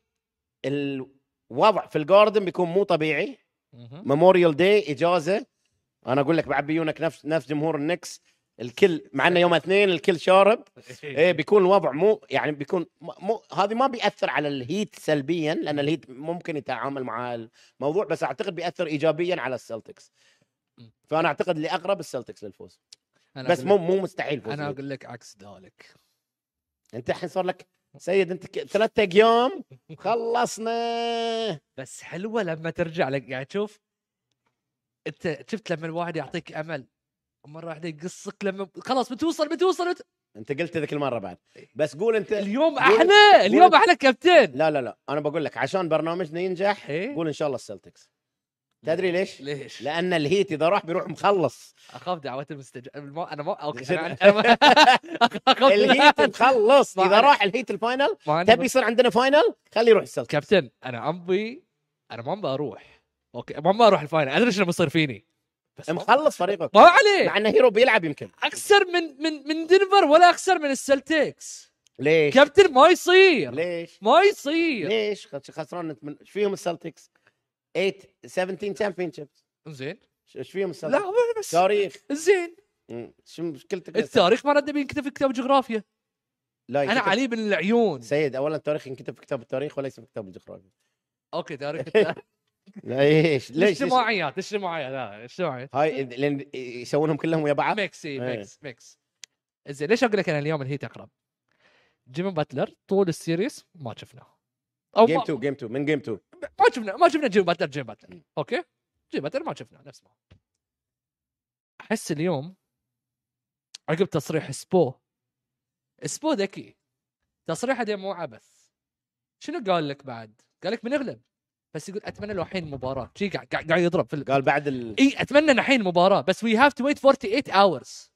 Speaker 2: الوضع في الجاردن بيكون مو طبيعي
Speaker 1: مهم.
Speaker 2: ميموريال داي اجازه انا اقول لك بعد بيونك نفس نفس جمهور النكس الكل مع انه يوم اثنين الكل شارب
Speaker 1: إيه.
Speaker 2: ايه بيكون الوضع مو يعني بيكون م- مو هذه ما بياثر على الهيت سلبيا لان الهيت ممكن يتعامل مع الموضوع بس اعتقد بياثر ايجابيا على السلتكس فانا اعتقد اللي اقرب السلتكس للفوز
Speaker 1: أنا
Speaker 2: بس
Speaker 1: أقول
Speaker 2: مو
Speaker 1: لك-
Speaker 2: مو مستحيل فوز
Speaker 1: انا
Speaker 2: أنا
Speaker 1: اقول لك عكس ذلك
Speaker 2: انت الحين صار لك سيد انت ك- ثلاثة ايام خلصنا
Speaker 1: بس حلوه لما ترجع لك يعني شوف انت شفت لما الواحد يعطيك امل مره واحده يقصك لما خلاص بتوصل بتوصل بت...
Speaker 2: انت قلت ذيك المره بعد بس قول انت
Speaker 1: اليوم
Speaker 2: قول-
Speaker 1: احلى اليوم
Speaker 2: قول-
Speaker 1: احلى كابتن
Speaker 2: لا لا لا انا بقول لك عشان برنامجنا ينجح
Speaker 1: إيه؟
Speaker 2: قول ان شاء الله السلتكس تدري ليش؟
Speaker 1: ليش؟
Speaker 2: لان الهيت اذا راح بيروح مخلص
Speaker 1: اخاف دعوات المستجاب انا ما اوكي
Speaker 2: شنو؟
Speaker 1: انا,
Speaker 2: (laughs)
Speaker 1: أنا... أخاف
Speaker 2: الهيت مخلص
Speaker 1: ما
Speaker 2: اذا
Speaker 1: أنا-
Speaker 2: راح الهيت الفاينل
Speaker 1: ما عندي
Speaker 2: تبي يصير عندنا فاينل خليه يروح السلتكس
Speaker 1: كابتن انا امبي انا ما ابغى اروح اوكي ما ابغى اروح الفاينل ادري شنو بيصير فيني بس ما
Speaker 2: مخلص فريقك
Speaker 1: ما عليه
Speaker 2: مع انه هيرو بيلعب يمكن
Speaker 1: اكثر من من من دنفر ولا اكثر من السلتكس
Speaker 2: ليش؟
Speaker 1: كابتن ما يصير
Speaker 2: ليش؟
Speaker 1: ما يصير
Speaker 2: ليش؟ خس- خسران انت من ايش فيهم السلتكس؟ 8 17 تشامبيون شيبس
Speaker 1: زين
Speaker 2: ايش فيهم
Speaker 1: لا
Speaker 2: السلتكس؟
Speaker 1: هو بس
Speaker 2: تاريخ
Speaker 1: زين
Speaker 2: مم. شو مشكلتك؟
Speaker 1: التاريخ ما رد بينكتب في كتاب جغرافيا
Speaker 2: لا
Speaker 1: انا
Speaker 2: ينكتب-
Speaker 1: علي بن العيون
Speaker 2: سيد اولا التاريخ ينكتب في كتاب التاريخ وليس في كتاب الجغرافيا
Speaker 1: اوكي تاريخ
Speaker 2: (laughs) ليش؟ ليش؟ ليش؟
Speaker 1: اجتماعيات اجتماعيات لا اجتماعيات
Speaker 2: هاي لان يسوونهم كلهم ويا بعض
Speaker 1: ميكس إي،
Speaker 2: إيه.
Speaker 1: ميكس ميكس زين ليش اقول لك انا اليوم الهيت اقرب؟ جيمي باتلر طول السيريس ما شفناه او
Speaker 2: جيم
Speaker 1: ما,
Speaker 2: 2 جيم 2 من جيم 2
Speaker 1: ما شفنا ما شفنا جيمي باتلر جيمي باتلر اوكي جيمي باتلر ما شفناه نفس ما هو. احس اليوم عقب تصريح سبو سبو ذكي تصريحه ده مو عبث شنو قال لك بعد؟ قال لك بنغلب بس يقول اتمنى لو الحين مباراه شي قاعد قاعد قاعد يضرب في ال-
Speaker 2: قال بعد ال
Speaker 1: اي اتمنى إيه، إن الحين مباراه بس وي هاف تو ويت 48 hours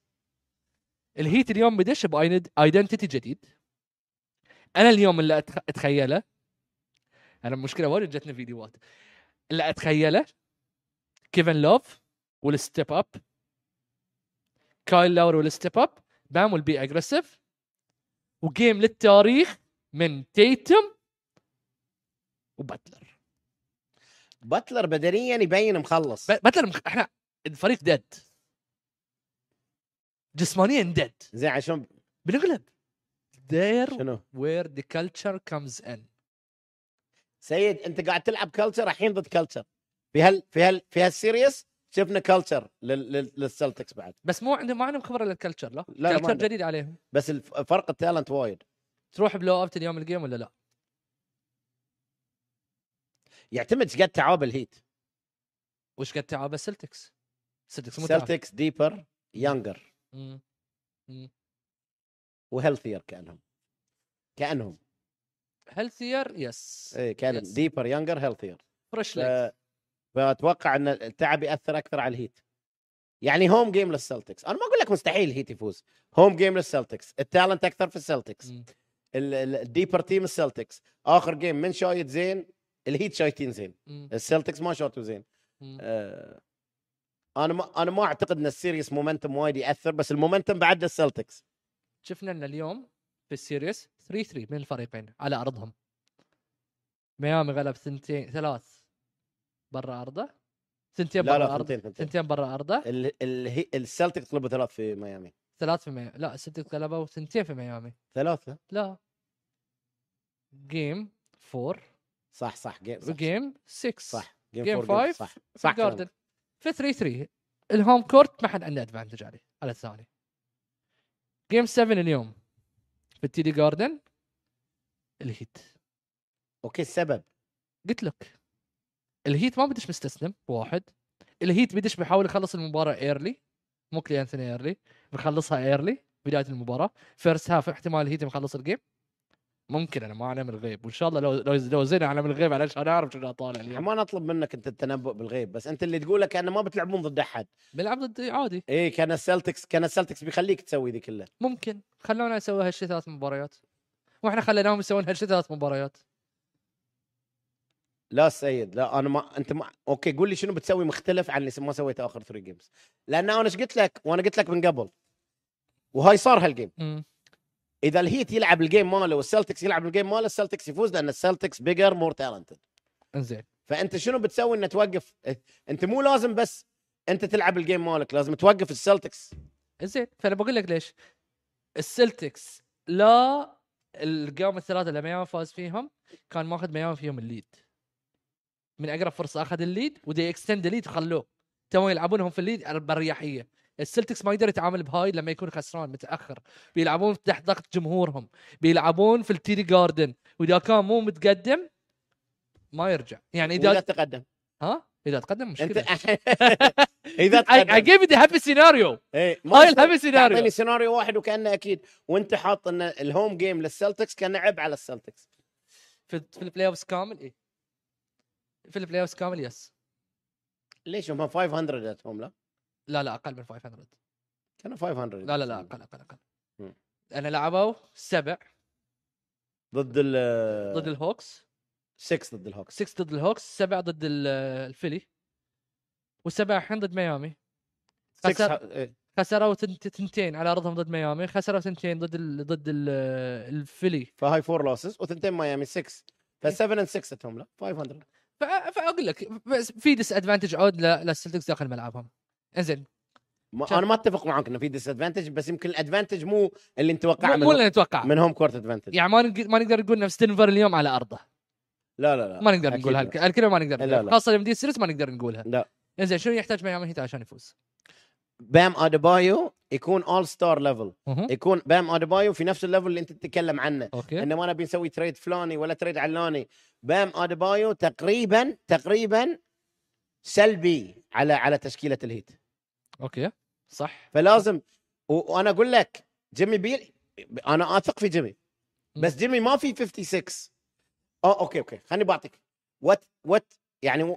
Speaker 1: الهيت اليوم بدش بايدنتيتي جديد انا اليوم اللي أتخ... اتخيله انا المشكله وايد جتني فيديوهات اللي اتخيله كيفن لوف والستيب اب كايل لاور والستيب اب بام ويل بي اجريسيف وجيم للتاريخ من تيتم وباتلر
Speaker 2: باتلر بدنيا يبين مخلص
Speaker 1: ب- باتلر مخ... احنا الفريق ديد جسمانيا ديد
Speaker 2: زين عشان
Speaker 1: بنغلب there
Speaker 2: شنو؟
Speaker 1: where the culture comes in
Speaker 2: سيد انت قاعد تلعب كلتشر الحين ضد كلتشر في هال في هال في هالسيريس شفنا كلتشر للسلتكس بعد
Speaker 1: بس مو عندهم ما عندهم خبره للكلتشر لا
Speaker 2: لا، ما
Speaker 1: كلتشر
Speaker 2: عندهم.
Speaker 1: جديد عليهم
Speaker 2: بس الف- فرق التالنت وايد
Speaker 1: تروح بلو اوت اليوم الجيم ولا لا
Speaker 2: يعتمد ايش قد تعاب الهيت
Speaker 1: وش قد تعب السلتكس سلتكس مو تعب.
Speaker 2: سلتكس ديبر يانجر
Speaker 1: مم.
Speaker 2: وهيلثير كانهم كانهم
Speaker 1: هيلثير يس
Speaker 2: اي إيه، كان
Speaker 1: Yes.
Speaker 2: ديبر يانجر هيلثير
Speaker 1: فريش
Speaker 2: ف...
Speaker 1: ليجز
Speaker 2: فاتوقع ان التعب ياثر اكثر على الهيت يعني هوم جيم للسلتكس انا ما اقول لك مستحيل الهيت يفوز هوم جيم للسلتكس التالنت اكثر في السلتكس
Speaker 1: مم.
Speaker 2: ال- ال- الديبر تيم السلتكس اخر جيم من شايت زين الهيت شايتين زين
Speaker 1: مم.
Speaker 2: السلتكس ما شاطوا زين
Speaker 1: مم.
Speaker 2: آه، انا ما انا ما اعتقد ان السيريس مومنتم وايد ياثر بس المومنتم بعد السلتكس
Speaker 1: شفنا ان اليوم في السيريس 3 3 من الفريقين على ارضهم ميامي غلب ثنتين ثلاث برا ارضه ثنتين
Speaker 2: لا
Speaker 1: برا
Speaker 2: لا
Speaker 1: ارضه
Speaker 2: ثنتين ثنتين
Speaker 1: ثنتين برا ارضه
Speaker 2: ال- ال- هي- السلتكس غلبوا ثلاث في ميامي
Speaker 1: ثلاث في ميامي لا صدق غلبوا ثنتين في ميامي
Speaker 2: ثلاثة
Speaker 1: لا جيم 4
Speaker 2: صح صح جيم صح
Speaker 1: وجيم 6
Speaker 2: صح
Speaker 1: جيم
Speaker 2: فور،
Speaker 1: 5
Speaker 2: صح
Speaker 1: في
Speaker 2: صح
Speaker 1: الجاردن
Speaker 2: كلامك.
Speaker 1: في 3 3 الهوم كورت ما حد عنده ادفانتج عليه على الثاني جيم 7 اليوم في التيدي جاردن الهيت
Speaker 2: اوكي السبب
Speaker 1: قلت لك الهيت ما بدش مستسلم واحد الهيت بدش بيحاول يخلص المباراه ايرلي مو كلي انثوني ايرلي بخلصها ايرلي بدايه المباراه فيرست هاف احتمال الهيت مخلص الجيم ممكن انا ما اعلم الغيب وان شاء الله لو لو لو زين اعلم الغيب علشان اعرف شنو طالع اليوم
Speaker 2: ما نطلب منك انت التنبؤ بالغيب بس انت اللي تقوله كانه ما بتلعبون ضد احد
Speaker 1: بيلعب ضد عادي
Speaker 2: ايه كان السلتكس كان السلتكس بيخليك تسوي ذي كله
Speaker 1: ممكن خلونا نسوي هالشي ثلاث مباريات واحنا خليناهم يسوون هالشي ثلاث مباريات
Speaker 2: لا سيد لا انا ما انت ما اوكي قول لي شنو بتسوي مختلف عن اللي ما سويته اخر 3 جيمز لان انا ايش قلت لك وانا قلت لك من قبل وهاي صار هالجيم
Speaker 1: امم
Speaker 2: اذا الهيت يلعب الجيم ماله والسلتكس يلعب الجيم ماله السلتكس يفوز لان السلتكس بيجر مور تالنتد
Speaker 1: انزين
Speaker 2: فانت شنو بتسوي انه توقف انت مو لازم بس انت تلعب الجيم مالك لازم توقف السلتكس
Speaker 1: زين فانا بقول لك ليش السلتكس لا القام الثلاثه اللي ميامي فاز فيهم كان ماخذ ميامي فيهم الليد من اقرب فرصه اخذ الليد ودي اكستند الليد خلوه تو يلعبونهم في الليد على- باريحيه السلتكس ما يقدر يتعامل بهاي لما يكون خسران متاخر بيلعبون تحت ضغط جمهورهم بيلعبون في التيري جاردن واذا كان مو متقدم ما يرجع يعني
Speaker 2: اذا
Speaker 1: اذا
Speaker 2: تقدم
Speaker 1: ها اذا تقدم
Speaker 2: انت
Speaker 1: مشكله
Speaker 2: (laughs)
Speaker 1: (laughs)
Speaker 2: اذا
Speaker 1: اي
Speaker 2: تقدم
Speaker 1: جيف ذا هابي سيناريو
Speaker 2: اي
Speaker 1: هاي الهابي سيناريو
Speaker 2: تعطيني سيناريو واحد وكانه اكيد وانت حاط ان الهوم جيم للسلتكس كانه عب على السلتكس
Speaker 1: في في البلاي اوفز كامل ايه في البلاي اوفز كامل يس
Speaker 2: ليش هم 500 ات هوم لا
Speaker 1: لا لا اقل من 500
Speaker 2: كانوا 500
Speaker 1: لا لا لا اقل اقل اقل
Speaker 2: مم.
Speaker 1: انا لعبوا سبع
Speaker 2: ضد ال
Speaker 1: ضد الهوكس
Speaker 2: 6 ضد الهوكس
Speaker 1: 6 ضد الهوكس سبع ضد ال- الفيلي وسبع الحين ضد ميامي
Speaker 2: 6
Speaker 1: خسر
Speaker 2: ح- إيه.
Speaker 1: خسروا تنت- تنتين على ارضهم ضد ميامي خسروا تنتين ضد ال... ضد ال... الفيلي
Speaker 2: فهاي 4 لوسز وثنتين ميامي 6
Speaker 1: إيه.
Speaker 2: ف 7 اند 6 ات هوم لا 500
Speaker 1: فأ- فاقول لك بس في ديس ادفانتج عود ل- للسلتكس داخل ملعبهم انزين شوف.
Speaker 2: ما انا ما اتفق معاك انه في ديس ادفانتج بس يمكن الادفانتج مو اللي نتوقعه
Speaker 1: مو مو
Speaker 2: من,
Speaker 1: اللي نتوقع
Speaker 2: من هوم كورت ادفانتج
Speaker 1: يعني ما نق- ما نقدر نقول نفس دنفر اليوم على ارضه
Speaker 2: لا لا لا
Speaker 1: ما نقدر
Speaker 2: أكيد
Speaker 1: نقول
Speaker 2: لا.
Speaker 1: هالك- هالكلمه ما نقدر
Speaker 2: لا،
Speaker 1: نقولها
Speaker 2: لا.
Speaker 1: خاصه لما دي السيريس ما نقدر نقولها
Speaker 2: لا.
Speaker 1: انزين شنو يحتاج ميامي هيت عشان يفوز؟
Speaker 2: بام اديبايو يكون اول ستار ليفل
Speaker 1: مهم.
Speaker 2: يكون بام اديبايو في نفس الليفل اللي انت تتكلم عنه
Speaker 1: اوكي
Speaker 2: انه ما نبي نسوي تريد فلاني ولا تريد علاني بام اديبايو تقريبا تقريبا سلبي على على تشكيله الهيت
Speaker 1: اوكي صح
Speaker 2: فلازم و- وانا اقول لك جيمي بيل انا اثق في جيمي بس
Speaker 1: مم.
Speaker 2: جيمي ما في 56 اه اوكي اوكي خليني بعطيك وات وات يعني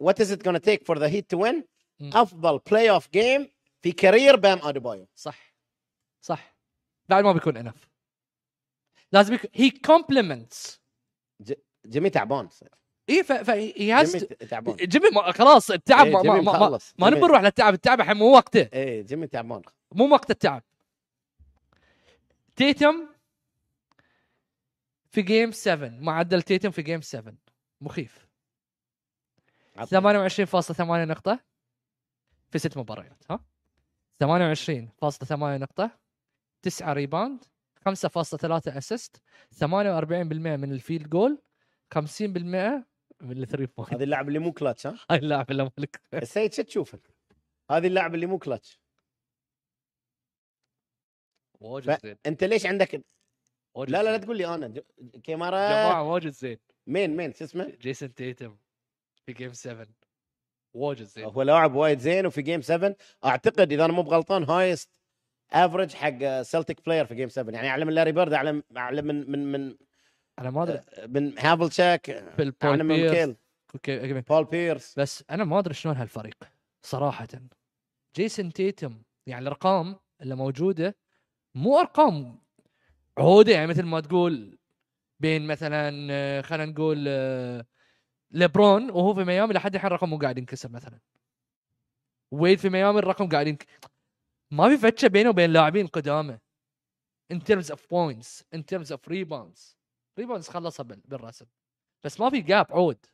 Speaker 2: وات از ات gonna تيك فور ذا هيت تو وين
Speaker 1: مم.
Speaker 2: افضل بلاي اوف جيم في كارير بام اديبايو
Speaker 1: صح صح بعد ما بيكون انف لازم يكون هي كومبلمنتس
Speaker 2: جيمي تعبان
Speaker 1: اي إيه، ف ف he has
Speaker 2: جيمي
Speaker 1: to-
Speaker 2: ت- تعبان
Speaker 1: جيمي ما خلاص التعب
Speaker 2: إيه،
Speaker 1: ما ما
Speaker 2: جيمي
Speaker 1: ما, ما,
Speaker 2: مخلص.
Speaker 1: ما نبي
Speaker 2: جيمي-
Speaker 1: نروح للتعب التعب الحين مو وقته
Speaker 2: ايه جيمي تعبان
Speaker 1: مو وقت التعب تيتم في جيم 7 معدل تيتم في جيم 7 مخيف
Speaker 2: عطني.
Speaker 1: 28.8 نقطة في ست مباريات ها 28.8 نقطة 9 ريباوند 5.3 اسيست 48% من الفيلد جول 50% من الثري بوينت
Speaker 2: هذا اللاعب اللي مو كلتش ها
Speaker 1: (laughs) هاي اللاعب اللي مالك
Speaker 2: السيد شو تشوفه هذا اللاعب اللي مو كلتش
Speaker 1: واجد زين
Speaker 2: انت ليش عندك
Speaker 1: واجد
Speaker 2: لا لا لا
Speaker 1: زين.
Speaker 2: تقول لي انا ج- كاميرا
Speaker 1: جماعة واجد زين
Speaker 2: مين مين شو اسمه
Speaker 1: جيسون تيتم في جيم 7 واجد زين
Speaker 2: هو لاعب وايد زين وفي جيم 7 اعتقد اذا انا مو بغلطان هايست افرج حق سلتيك بلاير في جيم 7 يعني اعلى من لاري بيرد اعلى اعلى من من من
Speaker 1: انا ما ادري
Speaker 2: من هافلشاك
Speaker 1: في
Speaker 2: اعلى أه، من
Speaker 1: البول
Speaker 2: ميكيل
Speaker 1: بيرس
Speaker 2: بول بيرس
Speaker 1: بس انا ما ادري شلون هالفريق صراحه جيسون تيتم يعني الارقام اللي موجوده مو ارقام عوده يعني مثل ما تقول بين مثلا آه، خلينا نقول آه، ليبرون وهو في ميامي لحد الحين رقم مو قاعد ينكسر مثلا ويد في ميامي الرقم قاعد ينك... ما في فتشه بينه وبين لاعبين قدامى in terms of points in terms of rebounds rebounds خلصها بال- بالرسم بس ما في جاب عود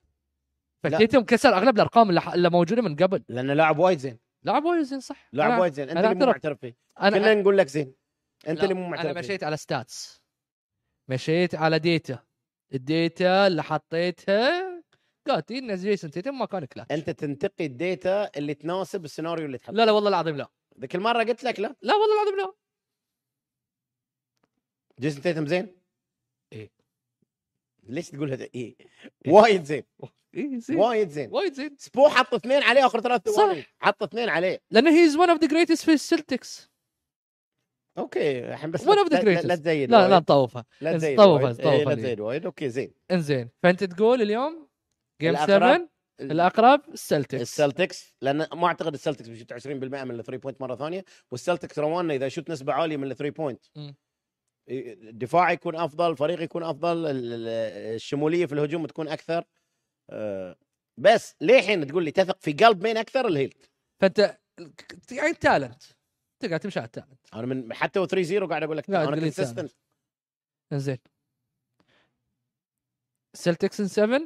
Speaker 1: فتيتم كسر اغلب الارقام اللي, ح- اللي موجوده من قبل
Speaker 2: لانه لاعب وايد زين
Speaker 1: لاعب وايد زين صح
Speaker 2: لاعب
Speaker 1: أنا-
Speaker 2: وايد زين انت
Speaker 1: أنا
Speaker 2: اللي مو
Speaker 1: أعترف.
Speaker 2: معترف فيه
Speaker 1: انا
Speaker 2: كلنا نقول لك زين انت
Speaker 1: لا،
Speaker 2: اللي مو
Speaker 1: انا
Speaker 2: معترف فيه
Speaker 1: مشيت على ستاتس مشيت على ديتا الديتا اللي حطيتها قاتي ان جيسون تيتم ما كان كلاتش
Speaker 2: انت تنتقي الديتا اللي تناسب السيناريو اللي تحبه
Speaker 1: لا لا والله العظيم لا
Speaker 2: ذيك المره قلت لك لا
Speaker 1: لا والله العظيم لا
Speaker 2: جيسون تيتم زين
Speaker 1: إيه.
Speaker 2: ليش تقول هذا ايه وايد زين
Speaker 1: إيه، زين
Speaker 2: وايد زين
Speaker 1: وايد زين
Speaker 2: سبو حط اثنين عليه اخر ثلاث
Speaker 1: صح.
Speaker 2: ثواني حط اثنين عليه
Speaker 1: لانه هي از ون اوف ذا جريتست في السلتكس
Speaker 2: اوكي الحين بس
Speaker 1: One of the
Speaker 2: لا- لا-
Speaker 1: greatest.
Speaker 2: لا تزيد
Speaker 1: لا
Speaker 2: وايد.
Speaker 1: لا نطوفها
Speaker 2: لا تزيد
Speaker 1: طوفها-
Speaker 2: وايد. إيه،
Speaker 1: طوفها
Speaker 2: لا
Speaker 1: لي.
Speaker 2: تزيد وايد اوكي زين
Speaker 1: انزين فانت تقول اليوم جيم
Speaker 2: الأقرب.
Speaker 1: 7 الاقرب السلتكس
Speaker 2: السلتكس لان ما اعتقد السلتكس بيشوت 20% من الثري بوينت مره ثانيه والسلتكس روانا اذا شوت نسبه عاليه من الثري بوينت
Speaker 1: مم.
Speaker 2: الدفاع يكون افضل الفريق يكون افضل ال- ال- الشموليه في الهجوم تكون اكثر آه، بس للحين تقول لي تثق في قلب مين اكثر الهيلت
Speaker 1: فانت يعني تالنت تقعد تمشي على التالنت
Speaker 2: انا من حتى و 3 0 قاعد اقول لك
Speaker 1: لا،
Speaker 2: انا
Speaker 1: تقول لي
Speaker 2: كونسيستنت
Speaker 1: انزين سلتكس ان 7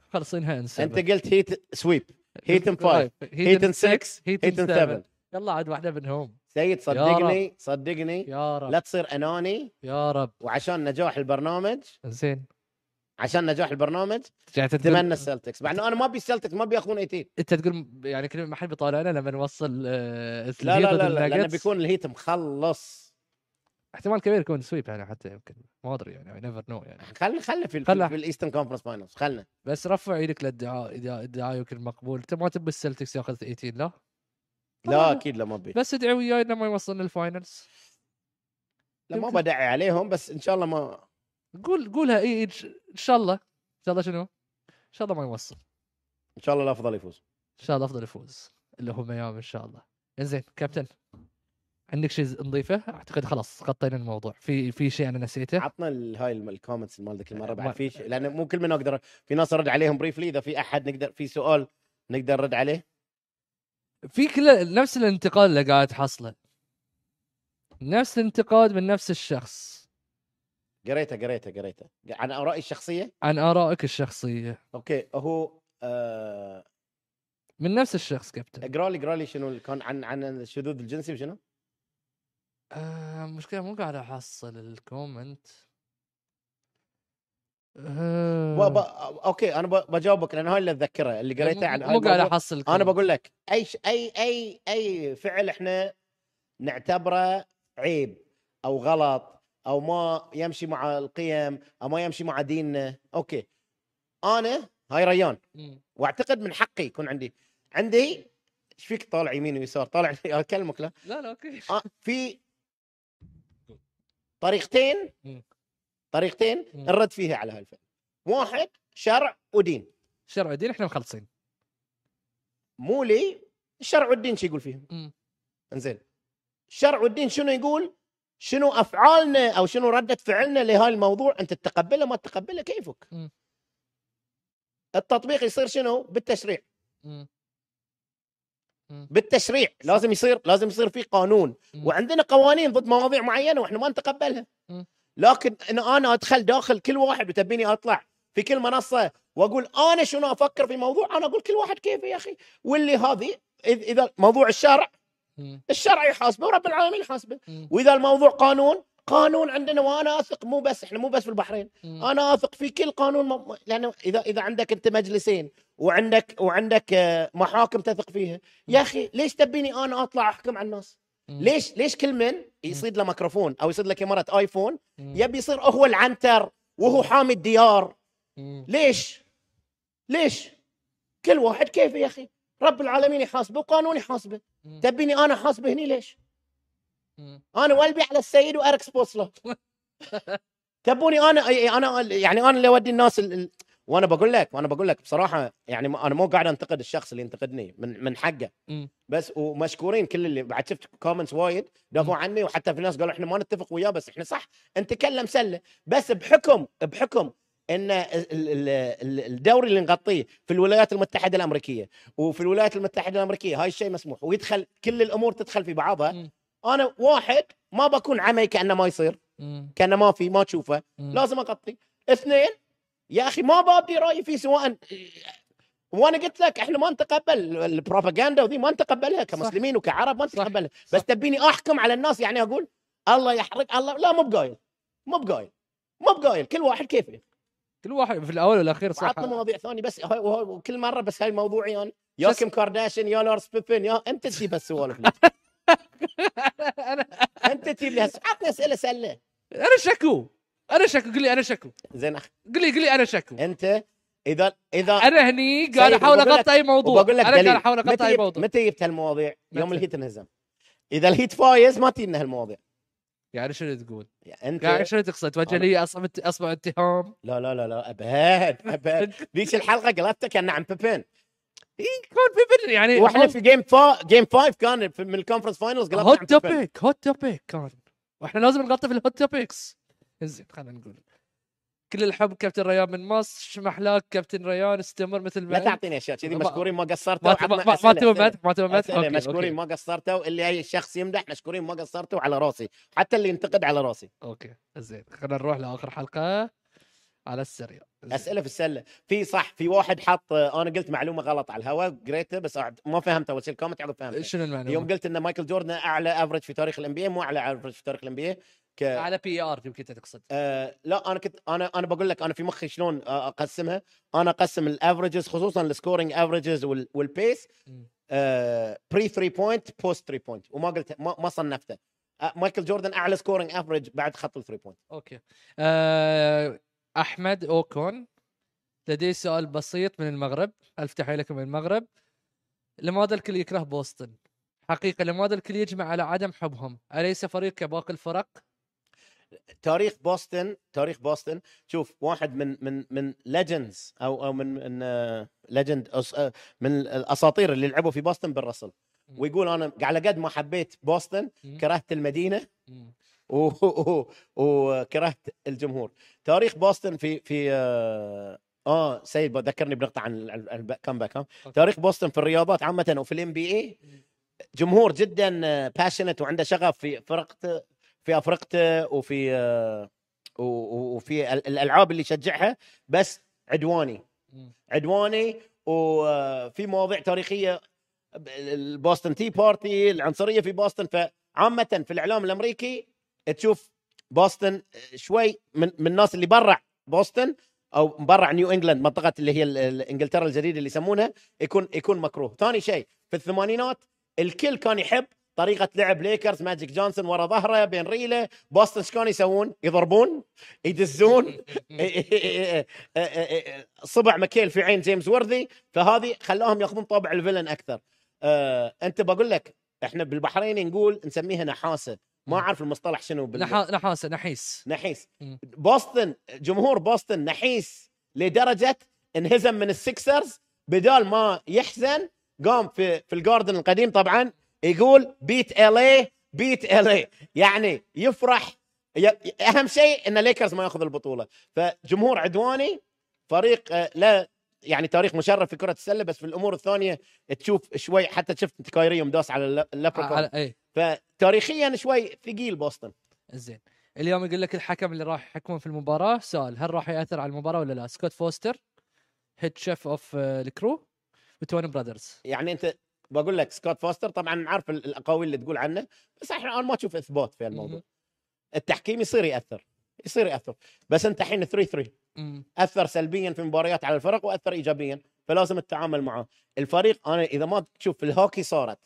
Speaker 1: خلصينها ان 7
Speaker 2: انت قلت هيت سويب هيت ان 5
Speaker 1: (laughs)
Speaker 2: هيت ان 6
Speaker 1: هيت
Speaker 2: هيت ان 7
Speaker 1: يلا عاد واحده منهم
Speaker 2: سيد صدقني صدقني
Speaker 1: يا رب
Speaker 2: لا تصير اناني
Speaker 1: يا رب
Speaker 2: وعشان نجاح البرنامج
Speaker 1: زين
Speaker 2: عشان نجاح البرنامج
Speaker 1: يعني أنت
Speaker 2: اتمنى
Speaker 1: تقول
Speaker 2: السلتكس مع انه انا ما ابي السلتكس ما بياخذون 18
Speaker 1: انت تقول يعني كلمه ما حد بيطالعنا لما نوصل آه،
Speaker 2: لا
Speaker 1: الهيت
Speaker 2: لا
Speaker 1: ضد
Speaker 2: لا, لا لانه
Speaker 1: الناجتس.
Speaker 2: بيكون الهيت مخلص
Speaker 1: احتمال كبير يكون سويب يعني حتى يمكن ما ادري يعني نيفر نو يعني
Speaker 2: خل خل في,
Speaker 1: خله.
Speaker 2: خل في الايسترن كونفرنس فاينلز خلنا
Speaker 1: بس رفع ايدك للدعاء اذا ادعاء يمكن مقبول انت ما تبي السلتكس ياخذ 18 لا
Speaker 2: لا
Speaker 1: طبعاً.
Speaker 2: اكيد لا ما ابي
Speaker 1: بس ادعي وياي انه ما يوصلنا الفاينلز
Speaker 2: لا ما
Speaker 1: يمكن.
Speaker 2: بدعي عليهم بس ان شاء الله ما
Speaker 1: قول قولها اي إن ش- ان شاء الله ان شاء الله شنو؟ ان شاء الله ما يوصل
Speaker 2: ان شاء الله الافضل يفوز
Speaker 1: ان شاء الله افضل يفوز اللي هو ميامي ان شاء الله انزين كابتن عندك شيء نضيفه اعتقد خلاص غطينا الموضوع في في شيء انا نسيته
Speaker 2: عطنا ال- هاي الم- الكومنتس مال ذيك المره
Speaker 1: إيه. ما-
Speaker 2: بعد في شيء لان مو كل من اقدر في ناس ارد عليهم بريفلي اذا في احد نقدر في سؤال نقدر نرد عليه
Speaker 1: في كل نفس الانتقاد اللي قاعد حصله نفس الانتقاد من نفس الشخص
Speaker 2: قريته قريته قريته عن ارائي الشخصيه
Speaker 1: عن ارائك الشخصيه
Speaker 2: اوكي هو آه،
Speaker 1: من نفس الشخص كابتن
Speaker 2: اقرا لي اقرا لي شنو اللي كان عن عن الشذوذ الجنسي وشنو
Speaker 1: آه مشكله مو قاعد احصل الكومنت آه
Speaker 2: وب... اوكي انا ب... بجاوبك لان هاي اللي اتذكرها اللي قريتها عن هاي
Speaker 1: يعني مو قاعد
Speaker 2: الموضوع.
Speaker 1: احصل
Speaker 2: انا
Speaker 1: الكومنت.
Speaker 2: بقول لك اي ش... اي اي اي فعل احنا نعتبره عيب او غلط او ما يمشي مع القيم او ما يمشي مع ديننا اوكي انا هاي ريان
Speaker 1: مم.
Speaker 2: واعتقد من حقي يكون عندي عندي ايش فيك طالع يمين ويسار طالع (laughs) اكلمك لا
Speaker 1: لا لا اوكي
Speaker 2: آه في طريقتين
Speaker 1: مم.
Speaker 2: طريقتين
Speaker 1: مم.
Speaker 2: نرد فيها على هالفعل واحد شرع ودين
Speaker 1: شرع الدين احنا مخلصين
Speaker 2: مو لي الشرع والدين شو يقول فيهم
Speaker 1: مم.
Speaker 2: انزين الشرع والدين شنو يقول شنو افعالنا او شنو رده فعلنا لهاي الموضوع انت تتقبله ما تتقبله كيفك
Speaker 1: مم.
Speaker 2: التطبيق يصير شنو بالتشريع
Speaker 1: مم. مم.
Speaker 2: بالتشريع لازم يصير لازم يصير في قانون
Speaker 1: مم.
Speaker 2: وعندنا قوانين ضد مواضيع معينه واحنا ما نتقبلها
Speaker 1: مم.
Speaker 2: لكن ان انا ادخل داخل كل واحد وتبيني اطلع في كل منصه واقول انا شنو افكر في موضوع انا اقول كل واحد كيفه يا اخي واللي هذه إذ- اذا موضوع الشرع
Speaker 1: مم.
Speaker 2: الشرع يحاسبه ورب العالمين يحاسبه
Speaker 1: مم.
Speaker 2: واذا الموضوع قانون قانون عندنا وانا اثق مو بس احنا مو بس في البحرين
Speaker 1: مم.
Speaker 2: انا اثق في كل قانون م- م- لانه اذا اذا عندك انت مجلسين وعندك وعندك آه، محاكم تثق فيها يا اخي ليش تبيني انا اطلع احكم على الناس
Speaker 1: مم.
Speaker 2: ليش ليش كل من يصيد له ميكروفون او يصيد له كاميرا ايفون
Speaker 1: مم.
Speaker 2: يبي يصير هو العنتر وهو حامي الديار
Speaker 1: مم.
Speaker 2: ليش ليش كل واحد كيفه يا اخي رب العالمين يحاسبه وقانون يحاسبه
Speaker 1: مم.
Speaker 2: تبيني انا احاسبه هني ليش
Speaker 1: مم.
Speaker 2: انا والبي على السيد واركس بوصله تبوني انا انا يعني انا اللي اودي الناس ال... ال- وانا بقول لك وانا بقول لك بصراحه يعني ما- انا مو قاعد انتقد الشخص اللي ينتقدني من من حقه
Speaker 1: مم.
Speaker 2: بس ومشكورين كل اللي بعد شفت كومنتس وايد دافعوا عني وحتى في ناس قالوا احنا ما نتفق وياه بس احنا صح نتكلم سله بس بحكم بحكم ان ال- ال- ال- الدوري اللي نغطيه في الولايات المتحده الامريكيه وفي الولايات المتحده الامريكيه هاي الشيء مسموح ويدخل كل الامور تدخل في بعضها
Speaker 1: مم.
Speaker 2: انا واحد ما بكون عمي كانه ما يصير
Speaker 1: مم.
Speaker 2: كانه ما في ما تشوفه
Speaker 1: مم.
Speaker 2: لازم اغطي اثنين يا اخي ما بابدي رايي فيه سواء وانا قلت لك احنا ما نتقبل البروباغندا وذي ما نتقبلها كمسلمين وكعرب ما
Speaker 1: صح.
Speaker 2: نتقبلها
Speaker 1: صح.
Speaker 2: بس تبيني احكم على الناس يعني اقول الله يحرق الله لا مو بقايل مو بقايل مو بقايل كل واحد كيفه
Speaker 1: كل واحد في الاول والاخير صح
Speaker 2: عطنا مواضيع ثانيه بس هاي وهاي وكل مره بس هاي موضوعي انا يا
Speaker 1: شو
Speaker 2: كيم كارداشيان يا لورس بيبن يا انت تجيب
Speaker 1: (laughs)
Speaker 2: هالسوالف لي. انت تجيب لي هالس- عطني اسئله سله
Speaker 1: انا شكو انا شكو قل لي انا شكو
Speaker 2: زين أخ...
Speaker 1: قل لي قل لي انا شكو
Speaker 2: انت اذا اذا
Speaker 1: انا هني قاعد
Speaker 2: يعني سيد،
Speaker 1: احاول
Speaker 2: وبقول لك-
Speaker 1: اغطي اي موضوع
Speaker 2: وبقول لك
Speaker 1: انا قاعد
Speaker 2: دليل
Speaker 1: احاول
Speaker 2: متى
Speaker 1: اغطي اي
Speaker 2: جبت-
Speaker 1: موضوع
Speaker 2: متى جبت هالمواضيع؟ يوم
Speaker 1: متى؟
Speaker 2: الهيت انهزم اذا الهيت فايز ما تجينا هالمواضيع
Speaker 1: يعني شنو تقول؟
Speaker 2: يعني انت
Speaker 1: قاعد شنو تقصد؟ توجه
Speaker 2: أنا-
Speaker 1: لي اصبع اصبع اتهام
Speaker 2: لا لا لا
Speaker 1: (laughs)
Speaker 2: لا ابد ابد ذيك الحلقه قلبتها كان عن بيبين
Speaker 1: إي، كون في بن- يعني
Speaker 2: واحنا نعم في جيم فا جيم فايف كان في- من الكونفرنس فاينلز قلبنا عن
Speaker 1: هوت
Speaker 2: بيبين
Speaker 1: توبيك هوت توبيك كان واحنا لازم نغطي في الهوت توبيكس زين خلينا نقول كل الحب كابتن ريان من مصر شمحلاك كابتن ريان استمر مثل ما
Speaker 2: لا
Speaker 1: أنت.
Speaker 2: تعطيني اشياء كذي
Speaker 1: ما-
Speaker 2: مشكورين ما قصرتوا
Speaker 1: ما ما-
Speaker 2: وعطنا
Speaker 1: ما- ما
Speaker 2: أسئلة-
Speaker 1: تبي
Speaker 2: أسئلة.
Speaker 1: مدح ما تبي مدح
Speaker 2: أسئلة.
Speaker 1: أوكي،
Speaker 2: مشكورين
Speaker 1: اوكي
Speaker 2: ما قصرتوا اللي اي شخص يمدح مشكورين ما قصرتوا على راسي حتى اللي ينتقد على راسي
Speaker 1: اوكي زين خلينا نروح لاخر حلقه على السريع زين.
Speaker 2: اسئله في السله في صح في واحد حط انا قلت معلومه غلط على الهواء قريتها بس أعد- ما فهمت اول شيء الكومنت عقب فهمت
Speaker 1: شنو المعنى؟
Speaker 2: يوم قلت ان مايكل جوردن اعلى افرج في تاريخ الان بي مو اعلى افرج في تاريخ الان بي ك
Speaker 1: على بي ار يمكن أنت تقصد
Speaker 2: آه لا انا كنت انا انا بقول لك انا في مخي شلون آه، اقسمها انا اقسم الافرجز خصوصا السكورينج افرجز والبيس
Speaker 1: مم.
Speaker 2: بري 3 بوينت بوست 3 بوينت وما قلت ما, ما صنفته آه، مايكل جوردن اعلى سكورينج افرج بعد خط ال 3 بوينت
Speaker 1: اوكي آه، احمد اوكون لدي سؤال بسيط من المغرب الف تحيه لكم من المغرب لماذا الكل يكره بوسطن حقيقه لماذا الكل يجمع على عدم حبهم اليس فريق كباقي الفرق
Speaker 2: تاريخ بوسطن تاريخ بوسطن شوف واحد من من من ليجندز او او من آه، من ليجند آه، من الاساطير اللي لعبوا في بوسطن بالرسل
Speaker 1: مم.
Speaker 2: ويقول انا على قد ما حبيت بوسطن
Speaker 1: مم.
Speaker 2: كرهت المدينه
Speaker 1: مم.
Speaker 2: و- و- وكرهت الجمهور تاريخ بوسطن في في آه، اه سيد ذكرني بنقطه عن ال- ال- الكامباك ها
Speaker 1: أوكي.
Speaker 2: تاريخ بوسطن في الرياضات عامه وفي الام بي اي جمهور جدا باشنت وعنده شغف في فرقته في افرقته وفي آه، و- و- وفي ال- الالعاب اللي يشجعها بس عدواني
Speaker 1: مم.
Speaker 2: عدواني وفي مواضيع تاريخيه ب- البوسطن تي بارتي العنصريه في بوسطن فعامه في الاعلام الامريكي تشوف بوسطن آه، شوي من من الناس اللي برع بوسطن او برع نيو انجلاند منطقه اللي هي ال- ال- انجلترا الجديده اللي يسمونها يكون يكون مكروه ثاني شيء في الثمانينات الكل كان يحب طريقه لعب ليكرز ماجيك جونسون ورا ظهره بين ريله بوسطن ايش كانوا يسوون يضربون يدزون إيه، صبع مكيل في عين جيمس وردي فهذه خلاهم ياخذون طابع الفيلن اكثر آه، انت بقول لك احنا بالبحرين نقول نسميها نحاسه ما اعرف المصطلح شنو بال...
Speaker 1: نحا- نحاسه نحيس
Speaker 2: نحيس
Speaker 1: مم.
Speaker 2: بوسطن جمهور بوسطن نحيس لدرجه انهزم من السكسرز بدال ما يحزن قام في في الجاردن القديم طبعا يقول بيت ال اي بيت ال اي يعني يفرح ي- اهم شيء ان ليكرز ما ياخذ البطوله فجمهور عدواني فريق آه، لا يعني تاريخ مشرف في كره السله بس في الامور الثانيه تشوف شوي حتى شفت كايري يوم دوس على اللاب- اللابريكون
Speaker 1: على ايه
Speaker 2: فتاريخيا شوي ثقيل بوسطن
Speaker 1: زين اليوم يقول لك الحكم اللي راح يحكمون في المباراه سؤال هل راح ياثر على المباراه ولا لا سكوت فوستر هيد شيف اوف الكرو وتوني برادرز
Speaker 2: يعني انت بقول لك سكوت فوستر طبعا عارف ال- الاقاويل اللي تقول عنه بس احنا انا ما اشوف اثبات في الموضوع
Speaker 1: مهم.
Speaker 2: التحكيم يصير ياثر يصير ياثر بس انت الحين 3 3
Speaker 1: مم.
Speaker 2: اثر سلبيا في مباريات على الفرق واثر ايجابيا فلازم التعامل معه الفريق انا اذا ما تشوف في الهوكي صارت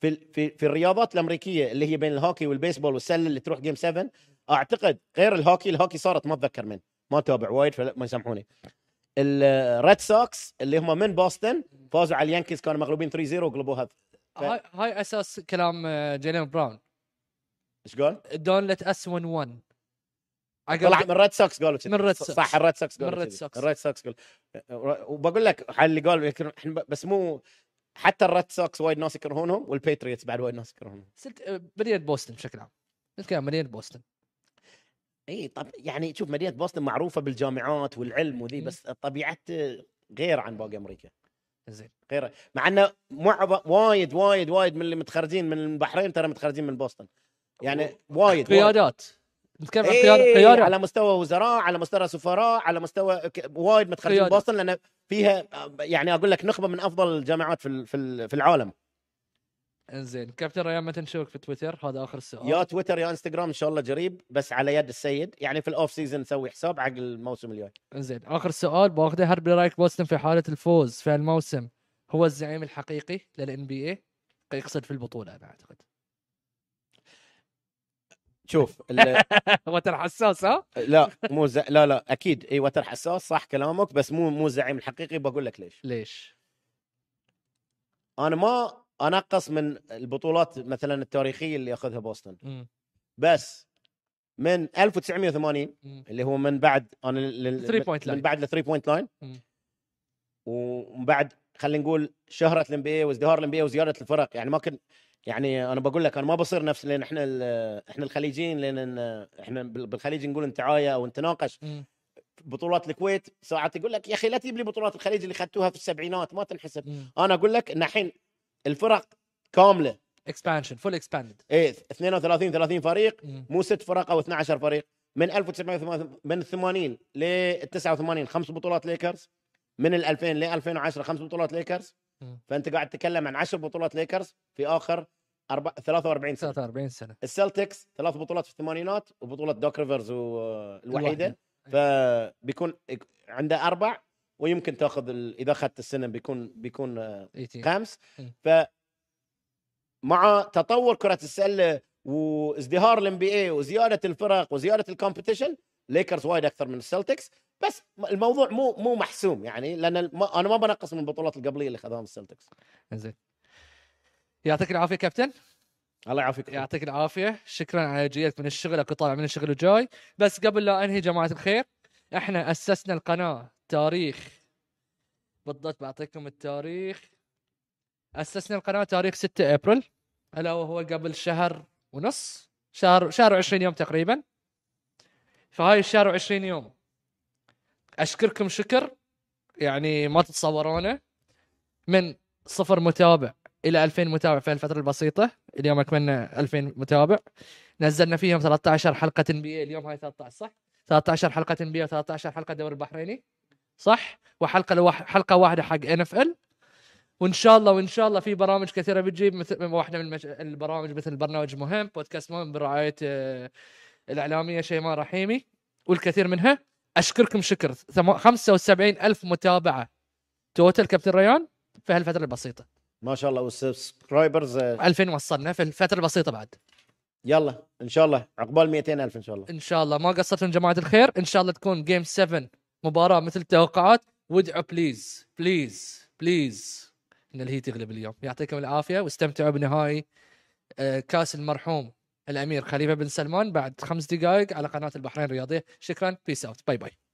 Speaker 2: في ال- في في الرياضات الامريكيه اللي هي بين الهوكي والبيسبول والسله اللي تروح جيم 7 اعتقد غير الهوكي الهوكي صارت ما اتذكر من ما تابع وايد فما يسامحوني الريد سوكس اللي هم من بوسطن فازوا على اليانكيز كانوا مغلوبين 3 0 وقلبوها ف-
Speaker 1: هاي هاي اساس كلام آه، جيلين براون
Speaker 2: ايش قال؟
Speaker 1: دون لت اس 1 1
Speaker 2: طلع من
Speaker 1: عقب
Speaker 2: ريد سوكس قالوا كذي.
Speaker 1: من ريد سوكس.
Speaker 2: صح الريد سوكس قالوا
Speaker 1: من ريد
Speaker 2: كذي.
Speaker 1: سوكس.
Speaker 2: الريد سوكس قال وبقول لك على اللي قالوا يكرهون- إحنا ب- بس مو حتى الريد سوكس وايد ناس يكرهونهم والبيتريتس بعد وايد ناس يكرهونهم
Speaker 1: سلت آه، مدينه بوسطن بشكل عام نتكلم مدينه بوسطن
Speaker 2: اي طب يعني شوف مدينه بوسطن معروفه بالجامعات والعلم وذي
Speaker 1: مم.
Speaker 2: بس طبيعته غير عن باقي امريكا
Speaker 1: زين
Speaker 2: غير مع انه معظم وايد وايد وايد من اللي متخرجين من البحرين ترى متخرجين من بوسطن يعني وايد وايد
Speaker 1: قيادات نتكلم عن قيادة
Speaker 2: إيه
Speaker 1: قيادة
Speaker 2: على مستوى وزراء على مستوى سفراء على مستوى ك- وايد متخرجين
Speaker 1: قيادة.
Speaker 2: بوسطن لان فيها آه، يعني اقول لك نخبه من افضل الجامعات في ال- في ال- في العالم
Speaker 1: انزين كابتن ريان متى نشوفك في تويتر هذا اخر سؤال
Speaker 2: يا تويتر يا انستغرام ان شاء الله قريب بس على يد السيد يعني في الاوف سيزون نسوي حساب حق الموسم الجاي
Speaker 1: انزين اخر سؤال باخذه هل برايك بوستن في حاله الفوز في الموسم هو الزعيم الحقيقي للان بي اي يقصد في البطوله انا
Speaker 2: (laughs)
Speaker 1: اعتقد
Speaker 2: شوف (laughs) ال-
Speaker 1: وتر حساس ها
Speaker 2: لا مو ز... لا لا اكيد اي وتر حساس صح كلامك بس مو مو زعيم الحقيقي بقول لك ليش
Speaker 1: ليش
Speaker 2: انا ما انقص من البطولات مثلا التاريخيه اللي ياخذها بوسطن
Speaker 1: مم.
Speaker 2: بس من 1980
Speaker 1: مم.
Speaker 2: اللي هو من بعد انا لل...
Speaker 1: 3 point line.
Speaker 2: من بعد الثري بوينت لاين
Speaker 1: مم.
Speaker 2: ومن بعد خلينا نقول شهره الام بي وازدهار الام بي وزياده الفرق يعني ما كنت يعني انا بقول لك انا ما بصير نفس لان احنا ال- احنا الخليجيين لان احنا بال- بالخليج نقول انتعايه او نتناقش
Speaker 1: مم.
Speaker 2: بطولات الكويت ساعات يقول لك يا اخي لا تجيب لي بطولات الخليج اللي خدتوها في السبعينات ما تنحسب
Speaker 1: مم.
Speaker 2: انا اقول لك ان الحين الفرق كامله
Speaker 1: اكسبانشن فول اكسباندد
Speaker 2: ايه 32 30 فريق مو ست فرق او 12 فريق من 1980 من 80 ل 89 خمس بطولات ليكرز من ال 2000 ل 2010 خمس بطولات ليكرز
Speaker 1: مم.
Speaker 2: فانت قاعد تتكلم عن 10 بطولات ليكرز في اخر أربع 43 سنه
Speaker 1: 43 سنه
Speaker 2: السلتكس ثلاث بطولات في الثمانينات وبطوله دوك ريفرز والوحيده
Speaker 1: الوحيدة. أيوة.
Speaker 2: فبيكون عنده اربع ويمكن تاخذ ال- اذا اخذت السنه بيكون بيكون آه،
Speaker 1: 18
Speaker 2: خمس
Speaker 1: مم.
Speaker 2: ف مع تطور كره السله وازدهار الام بي اي وزياده الفرق وزياده الكومبetition ليكرز وايد اكثر من السلتكس بس الموضوع مو مو محسوم يعني لان الم- انا ما بنقص من البطولات القبليه اللي خذاهم السلتكس
Speaker 1: انزين يعطيك العافيه كابتن
Speaker 2: الله يعافيك
Speaker 1: يعطيك العافيه شكرا على جيتك من الشغل اكو طالع من الشغل وجاي بس قبل لا انهي جماعه الخير احنا اسسنا القناه تاريخ بالضبط بعطيكم التاريخ اسسنا القناه تاريخ 6 ابريل الا وهو قبل شهر ونص شهر شهر 20 يوم تقريبا فهاي الشهر 20 يوم اشكركم شكر يعني ما تتصورونه من صفر متابع الى 2000 متابع في الفتره البسيطه اليوم اكملنا 2000 متابع نزلنا فيهم 13 حلقه ان بي اليوم هاي 13 صح 13 حلقه ان بي و13 حلقه دوري البحريني صح وحلقه لوح... حلقه واحده حق ان اف ال وان شاء الله وان شاء الله في برامج كثيره بتجيب مثل واحده من المش... البرامج مثل برنامج مهم بودكاست مهم برعايه آه، الاعلاميه شيماء رحيمي والكثير منها اشكركم شكر ثم... 75 الف متابعه توتال كابتن ريان في هالفتره البسيطه
Speaker 2: ما شاء الله والسبسكرايبرز
Speaker 1: 2000 وصلنا في الفتره البسيطه بعد
Speaker 2: يلا ان شاء الله عقبال 200,000 ان شاء الله
Speaker 1: ان شاء الله ما قصرتوا يا جماعه الخير ان شاء الله تكون جيم 7 مباراه مثل التوقعات وادعوا بليز بليز بليز ان الهي تغلب اليوم يعطيكم العافيه واستمتعوا بنهائي آه، كاس المرحوم الامير خليفه بن سلمان بعد خمس دقائق على قناه البحرين الرياضيه شكرا بيس اوت باي باي